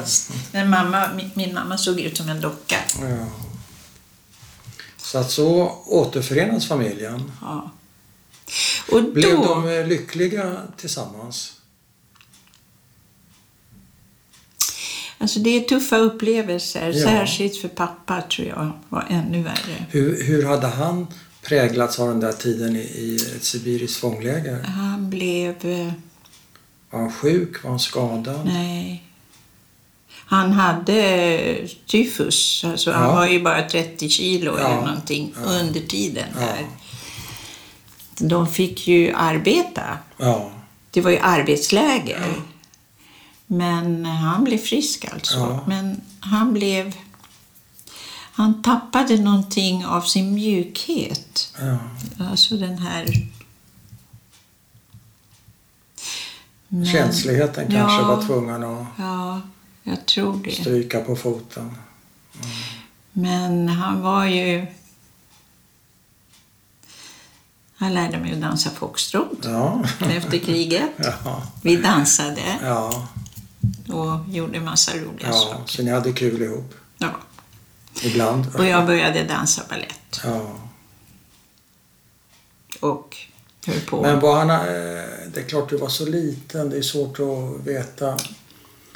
Men mamma, min, min mamma såg ut som en docka.
Ja. Så att så återförenas familjen.
Ja. Och
Blev
då,
de eh, lyckliga tillsammans?
alltså det är tuffa upplevelser,
Ja.
särskilt för pappa tror jag var ännu värre.
Hur, hur hade han präglats av den där tiden i, i ett sibiriskt fångläger?
Han blev, eh,
Var han sjuk? Var han skadad?
nej, Han hade eh, tyfus, alltså
Ja.
han var ju bara 30 kilo
Ja.
eller någonting under tiden där. De fick ju arbeta.
Ja.
Det var ju arbetsläger. Men han blev frisk alltså.
Ja.
Men han blev... Han tappade någonting av sin mjukhet.
ja.
Alltså den här... Men-
Känsligheten kanske
Ja.
var tvungen att
Ja, jag tror det.
stryka på foten.
Men han var ju... Han lärde mig att dansa foxtrot
Ja.
efter kriget.
Ja.
Vi dansade
Ja.
och gjorde massa roliga
ja.
saker.
Så ni hade kul ihop.
Ja.
Ibland.
Och jag började dansa ballett
Ja.
och höll på.
Men var han, eh, det är klart du var så liten, det är svårt att veta.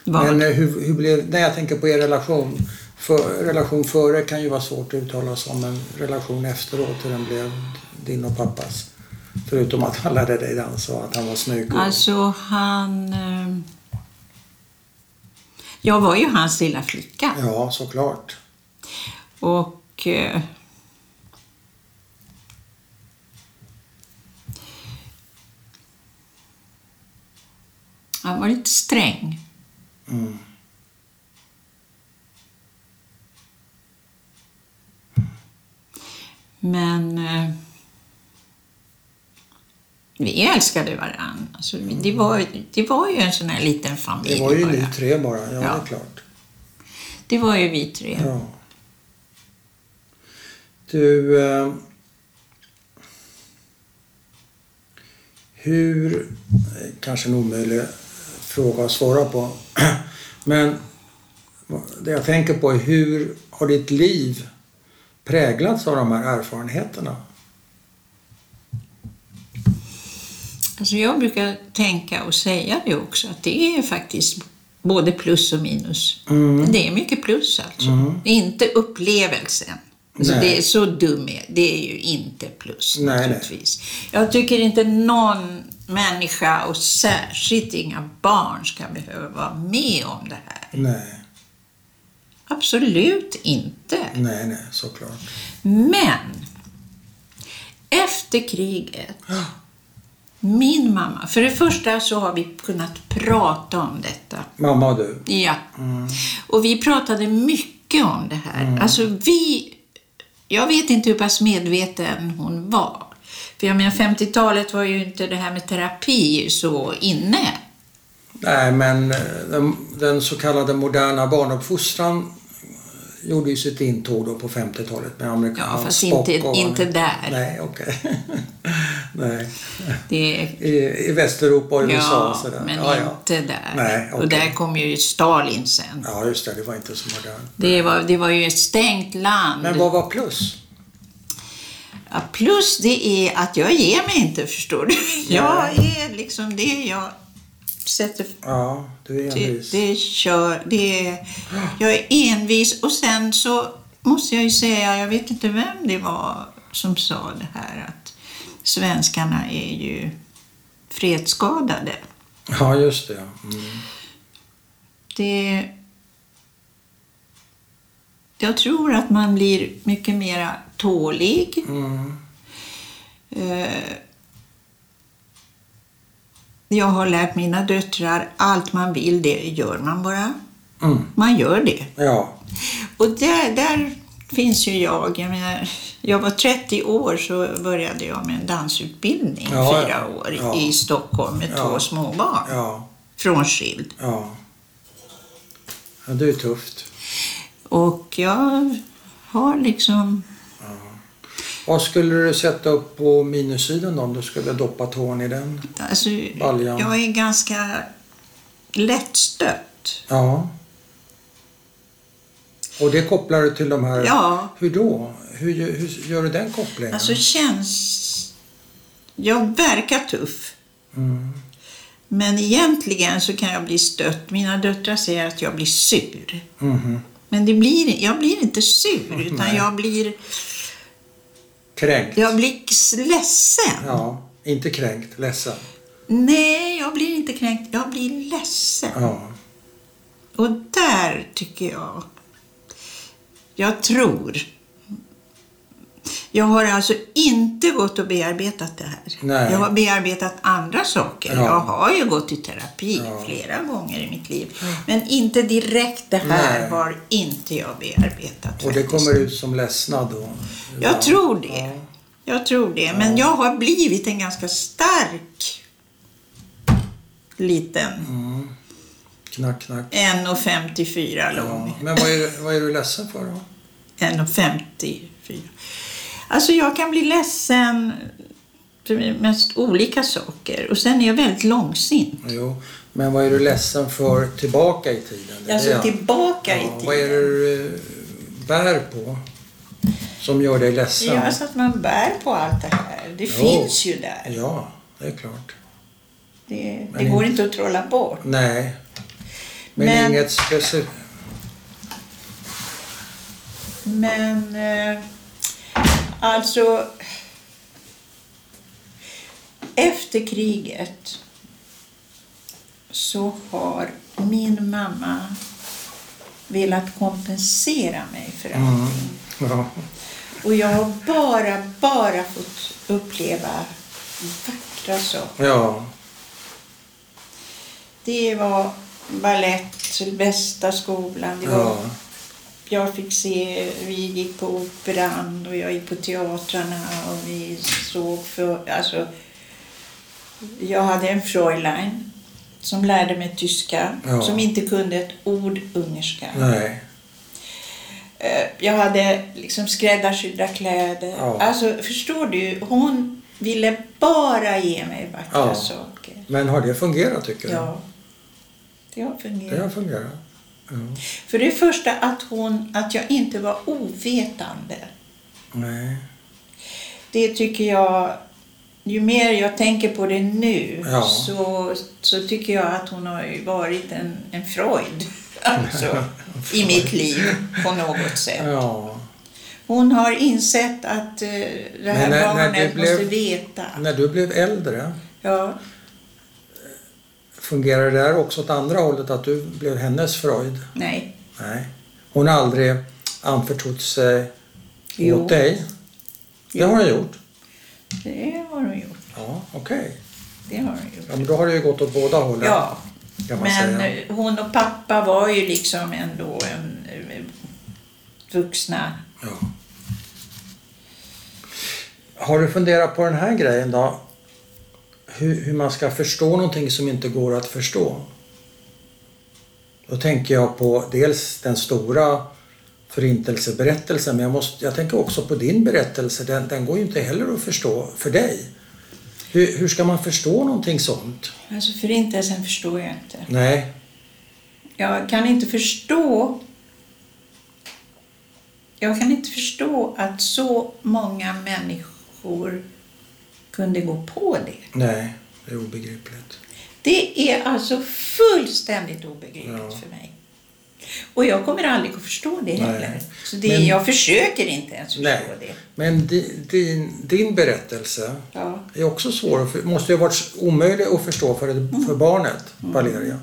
Vad-
Men eh, hur, hur blev, när jag tänker på er relation, för, relation före kan ju vara svårt att uttala sig om, men relation efteråt, hur den blev din och pappas. Förutom att han lärde dig dansa och att han var snygg. Och,
Alltså han... eh, Jag var ju hans lilla flicka.
ja, såklart.
Och... eh, Han var lite sträng.
Mm.
Men eh, vi älskade varandra. Alltså, vi- det, var, det var ju en sån här liten familj.
Det var ju
bara.
ni tre bara, ja, det
Ja.
är klart.
det var ju vi tre.
Ja. Du... Eh, hur... eh, Kanske en omöjlig fråga att svara på. Men det jag tänker på är hur har ditt liv präglats av de här erfarenheterna?
Alltså, jag brukar tänka och säga det också, att det är faktiskt både plus och minus.
Mm.
Det är mycket plus alltså. Det är inte upplevelsen. Alltså,
Nej.
det är så dum är det är ju inte plus
Nej, nej.
naturligtvis. Jag tycker inte någon människa och särskilt inga barn ska behöva vara med om det här.
Nej,
Absolut inte.
nej, nej, såklart.
Men efter kriget, min mamma, för det första så har vi kunnat prata om detta.
Mamma och du.
Ja.
Mm.
Och vi pratade mycket om det här. Alltså vi, jag vet inte hur pass medveten hon var. För jag menar 50-talet var ju inte det här med terapi så inne.
Nej, men eh, den, den så kallade moderna barnuppfostran gjorde ju sitt intåg då på 50-talet med amerikansk
Ja, fast
Spock
inte-
och-
inte där.
Nej, okej. Nej.
Det
I, I Västeuropa och USA och sådär.
men
ja, ja.
inte där.
Nej,
Och
okej.
där kom ju Stalin sen.
ja, just det. Det var inte så modernt.
Det, var, det var ju ett stängt land.
Men vad var plus?
Ja, plus det är att jag ger mig inte, förstår du. Jag är liksom det jag sätter...
Ja, du är
Det,
envis.
det kör, det är, jag är envis och sen så måste jag ju säga, jag vet inte vem det var som sa det här att svenskarna är ju fredsskadade.
Ja, just det. Mm.
Det, jag tror att man blir mycket mer tålig.
Mm.
Eh, Jag har lärt mina döttrar allt man vill, det gör man bara.
Mm.
Man gör det.
Ja,
Och där, där finns ju jag. Jag, menar, jag var 30 år så började jag med en dansutbildning,
Ja, ja.
fyra år,
Ja.
i Stockholm med
Ja.
två småbarn.
ja,
Frånskild.
ja. Ja, det är tufft.
Och jag har liksom...
Vad skulle du sätta upp på minussidan då om du skulle doppa tån i den?
Alltså,
Baljan.
jag är ganska lättstött.
Ja. Och det kopplar du till de här...
Ja.
Hur då? Hur, gö- hur gör du den kopplingen?
Alltså känns... Jag verkar tuff.
Mm.
Men egentligen så kan jag bli stött. Mina döttrar säger att jag blir sur.
Mhm.
Men det blir, jag blir inte sur, utan
Nej.
jag blir,
Kränkt?
jag blir s- ledsen.
Ja, Inte kränkt, ledsen.
Nej, jag blir inte kränkt. Jag blir ledsen.
Ja.
Och där här tycker jag. Jag tror. Jag har alltså inte gått och bearbetat det här.
Nej.
Jag har bearbetat andra saker.
Ja.
Jag har ju gått i terapi
Ja.
flera gånger i mitt liv. Men inte direkt det här
Nej.
har inte jag bearbetat.
Och det
faktiskt.
kommer ut som ledsnad då?
Jag tror det.
Ja.
Jag tror det. Men jag har blivit en ganska stark liten.
Mm. Knack, knack.
1,54 lång.
Ja. Men vad är, det- vad är du ledsen för då?
1,54. Alltså jag kan bli ledsen för mest olika saker. Och sen är jag väldigt långsint.
Jo, men vad är du ledsen för tillbaka i tiden? Det är det
Alltså
jag-
tillbaka i
Ja,
tiden.
vad är det du eh, bär på som gör dig ledsen?
Ja, alltså- så att man bär på allt det här. Det
Jo.
finns ju där.
Ja, det är klart.
Det, det
Men
går
inte-
inte att trolla bort.
Nej. Men,
Men-
inget specifikt.
Men eh, alltså efter kriget så har min mamma velat kompensera mig för allting.
Mm. Ja.
Och jag har bara, bara fått uppleva vackra saker.
ja.
Det var ballett, bästa skolan. Det var
Ja.
jag fick se, vi gick på operan och jag gick på teatrarna och vi såg för, alltså, jag hade en Fräulein som lärde mig tyska,
Ja.
som inte kunde ett ord ungerska.
Nej.
Eh, Jag hade liksom skräddarsydda kläder.
Ja.
Alltså, förstår du? Hon ville bara ge mig vackra
Ja.
saker.
Men har det fungerat tycker du?
Ja. Det har fungerat.
Det har fungerat. Ja.
För det första att hon, att jag inte var ovetande.
Nej.
Det tycker jag, ju mer jag tänker på det nu
Ja.
så, så tycker jag att hon har ju varit en, en Freud alltså, i mitt liv på något sätt.
Ja.
Hon har insett att eh, det här
Men när- när
barnet
det blev-
måste veta.
När du blev äldre,
Ja.
fungerade det där också åt andra hållet att du blev hennes Freud?
Nej.
Nej. Hon har aldrig anförtrott sig
Jo.
åt dig? Det
Jo.
har hon gjort?
Det har hon gjort.
Ja, okej.
Det har hon gjort.
Ja, men då har det ju gått åt båda hållen.
Ja.
Kan man
Men
säga.
eh, hon och pappa var ju liksom ändå en, eh, vuxna.
Ja. Har du funderat på den här grejen då? Hur, hur man ska förstå någonting som inte går att förstå? Då tänker jag på dels den stora förintelseberättelsen men jag, måste, jag tänker också på din berättelse. Den, den går ju inte heller att förstå för dig. Hur, hur ska man förstå någonting sånt?
Alltså förintelsen förstår jag inte.
Nej,
Jag kan inte förstå jag kan inte förstå att så många människor kunde gå på det.
nej, det är obegripligt.
Det är alltså fullständigt obegripligt
Ja.
för mig. Och jag kommer aldrig att förstå det
Nej.
heller. Så det,
Men-
jag försöker inte ens förstå
Nej.
det.
Men din, din, din berättelse
Ja.
är också svår. att för- måste ju ha varit omöjlig att förstå för, för
Mm.
barnet, Valeria.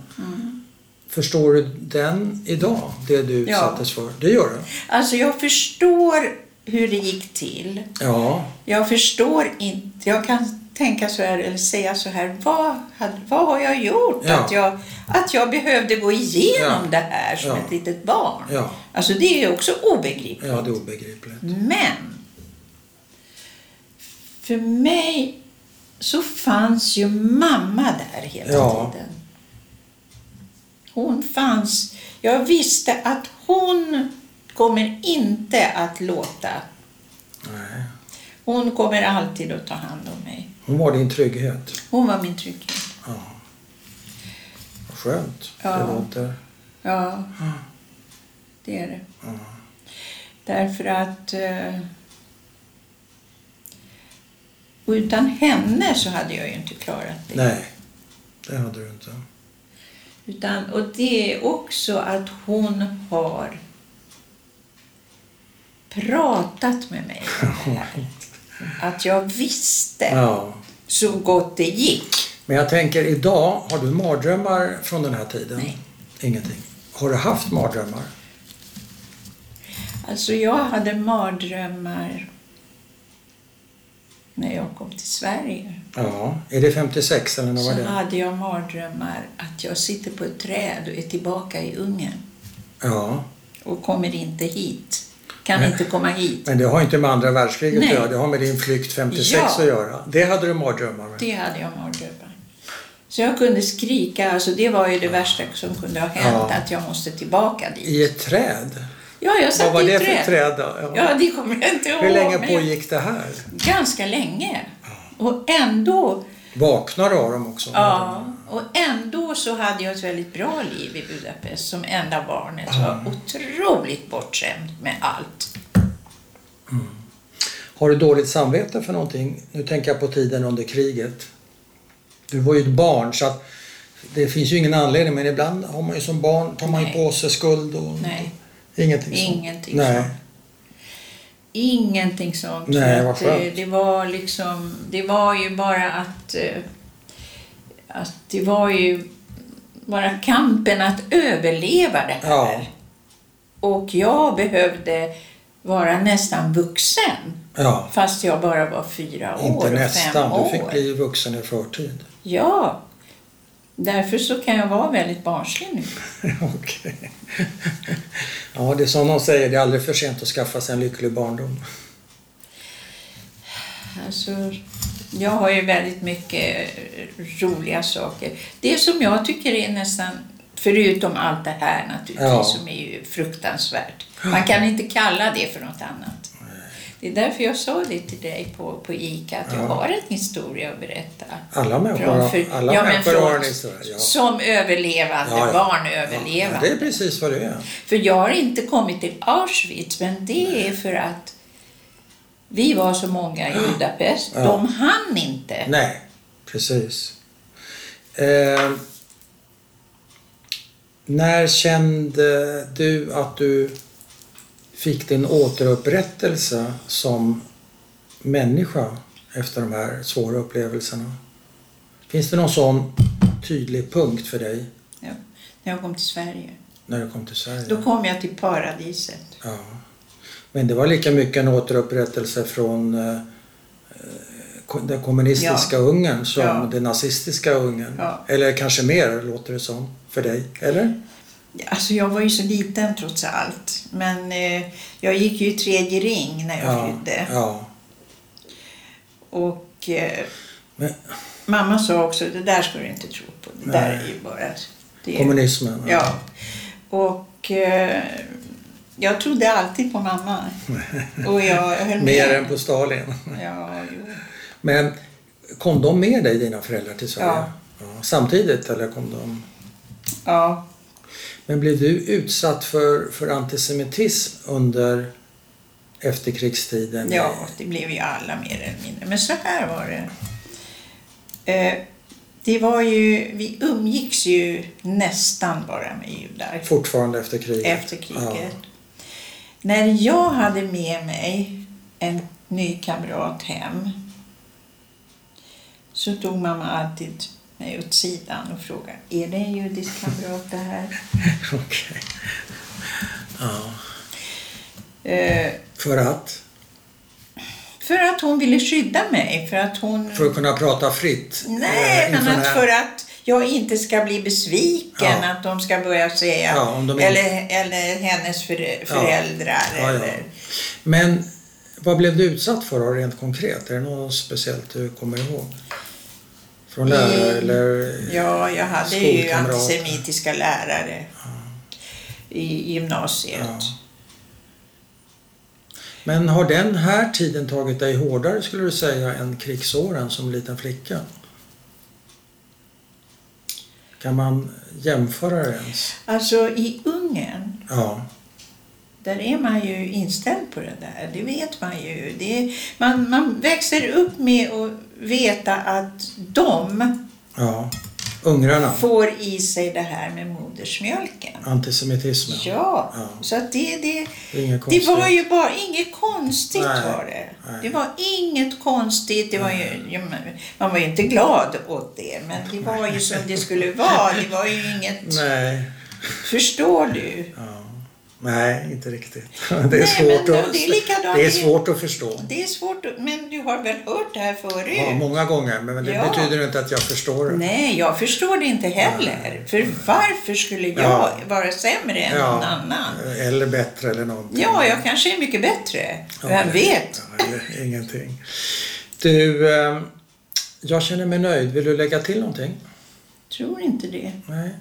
Förstår du den idag, det du
Ja.
utsattes för? Det gör du?
Alltså jag förstår hur det gick till.
Ja.
Jag förstår inte. Jag kan tänka så här eller säga så här. Vad, hade- vad har jag gjort?
Ja.
Att, jag, att jag behövde gå igenom
Ja.
det här som
Ja.
ett litet barn.
Ja.
Alltså det är ju också obegripligt.
ja, det är obegripligt.
Mm. Men för mig så fanns ju mamma där hela
Ja.
tiden. Hon fanns. Jag visste att hon kommer inte att låta.
Nej.
Hon kommer alltid att ta hand om mig.
Hon var din trygghet.
Hon var min trygghet.
Ja. Vad skönt
Ja.
det låter.
Ja,
Mm.
det är det.
Ja.
Därför att eh, och utan henne så hade jag ju inte klarat det.
Nej, det hade du inte.
Utan, och det är också att hon har pratat med mig om det här. Att jag visste
Ja.
så gott det gick.
Men jag tänker idag, har du mardrömmar från den här tiden?
Nej.
Ingenting. Har du haft mardrömmar?
Alltså jag hade mardrömmar när jag kom till Sverige.
Ja. Är det 56 eller när
Så
var det?
hade jag mardrömmar att jag sitter på ett träd och är tillbaka i Ungern
Ja.
och kommer inte hit. Kan
Nej.
inte komma hit.
Men det har inte med andra världskriget
Nej.
att göra. Det har med din flykt 56
Ja.
att göra. Det hade du mardrömmar med.
Det hade jag mardrömmar. Så jag kunde skrika, alltså det var ju det värsta som kunde ha hänt,
Ja.
att jag måste tillbaka dit.
I ett träd?
Ja, jag satt
Vad var
i
det
ett
för
träd.
träd då? Ja.
Ja, det kommer jag inte ihåg.
Hur länge
men jag-
pågick det här?
Ganska länge. Och ändå,
Vaknar du av dem också?
ja, och ändå så hade jag ett väldigt bra liv i Budapest som enda barnet. Jag
Ah.
var otroligt bortskämd med allt.
Har du dåligt samvete för någonting? Nu tänker jag på tiden under kriget. Du var ju ett barn så att det finns ju ingen anledning men ibland har man ju som barn tar man ju
Nej.
på sig skuld och
Nej,
ingenting sånt.
Ingenting
Nej.
sånt. ingenting sånt.
Nej,
Så
vad
att,
skönt.
eh, det var liksom, det var ju bara att, eh, att det var ju bara kampen att överleva det här.
Ja.
Och jag behövde vara nästan vuxen.
Ja,
Fast jag bara var fyra år
inte
och fem
nästan.
år.
Du fick bli vuxen i förtid.
Ja. Därför så kan jag vara väldigt barnslig nu.
Okej. Ja, det är som de säger, det är aldrig för sent att skaffa sig en lycklig barndom.
Alltså, jag har ju väldigt mycket eh, roliga saker. Det som jag tycker är nästan, förutom allt det här naturligtvis,
Ja.
som är ju fruktansvärt. Man kan inte kalla det för något annat. Det är därför jag sa det till dig på, på ICA, att jag har en historia att berätta.
Alla människor,
Från
har,
för-
alla
ja, men
människor
från-
har en historia. Ja.
Som överlevande,
Ja, ja. Ja,
barnöverlevande.
det är precis vad det är.
För jag har inte kommit till Auschwitz, men det är för att vi var så många i Budapest.
Ja.
De hann inte.
Nej, precis. Eh, när kände du att du fick din återupprättelse som människa efter de här svåra upplevelserna? Finns det någon sån tydlig punkt för dig
Ja. När jag kom till Sverige.
när du kom till Sverige?
Då kom jag till paradiset.
Ja. Men det var lika mycket en återupprättelse från eh, ko- det kommunistiska Ungern som
Ja.
det nazistiska Ungern.
Ja.
Eller kanske mer, låter det som, för dig. Eller?
Alltså jag var ju så liten trots allt. Men eh, jag gick ju i tredje ring när jag flydde.
ja.
Och eh,
Men,
mamma sa också, det där ska du inte tro på. Det där
Nej.
är ju bara... Det är
kommunismen.
Ja. Och eh, jag trodde alltid på mamma. Och jag höll
Mer
med.
än på Stalin.
Ja, jo.
Men kom de med dig, dina föräldrar, till Sverige?
Ja.
Ja, Samtidigt eller kom de?
ja.
Men blev du utsatt för, för antisemitism under efterkrigstiden?
ja, det blev ju alla mer eller mindre. Men så här var det. Eh, det var ju, vi umgicks ju nästan bara med judar
Fortfarande efter kriget?
efter
Ja.
kriget. När jag hade med mig en ny kamrat hem så tog mamma alltid mig åt sidan och frågade är det en judisk kamrat det här?
Okej. Ja.
Eh,
För att?
för att hon ville skydda mig. För att hon...
För att kunna prata fritt?
Nej,
eh,
men
inför den
att
här-
för att jag inte ska bli besviken,
Ja.
att de ska börja säga,
Ja, om de inte-
eller, eller hennes för, föräldrar.
Ja, ja.
Eller,
Men vad blev du utsatt för då, rent konkret? Är det något speciellt du kommer ihåg? Från lärare
Mm.
eller?
ja, jag hade ju
Skolkamrater.
antisemitiska lärare i gymnasiet.
Ja. Men har den här tiden tagit dig hårdare skulle du säga än krigsåren som liten flicka? Kan man jämföra det ens?
Alltså i Ungern,
Ja.
där är man ju inställd på det där. Det vet man ju. Det är, man, man växer upp med att veta att de
ja. Ungrarna.
får i sig det här med modersmjölken.
Antisemitismen.
Ja,
Ja.
så att det, det,
Det är inga
det var
konstigheter.
ju bara inget konstigt
Nej,
var det.
nej.
Det var inget konstigt. Det var ju, ja, men- man var ju inte glad åt det, men det var ju som det skulle vara. Det var ju inget
Nej.
Förstår du?
Ja. Nej, inte riktigt. Det är,
Nej,
svårt,
men
att,
det är likadant.
det är svårt att förstå.
Det är svårt, att- men du har väl hört det här förut?
Ja, många gånger, men det
Ja.
betyder inte att jag förstår det.
Nej, jag förstår det inte heller. För varför skulle jag
Ja.
vara sämre än någon annan?
Eller bättre eller någonting.
Ja, jag kanske är mycket bättre.
Ja,
Vem
eller-
vet?
Ja, eller ingenting. Du, eh, jag känner mig nöjd. Vill du lägga till någonting?
Tror inte det.
Nej.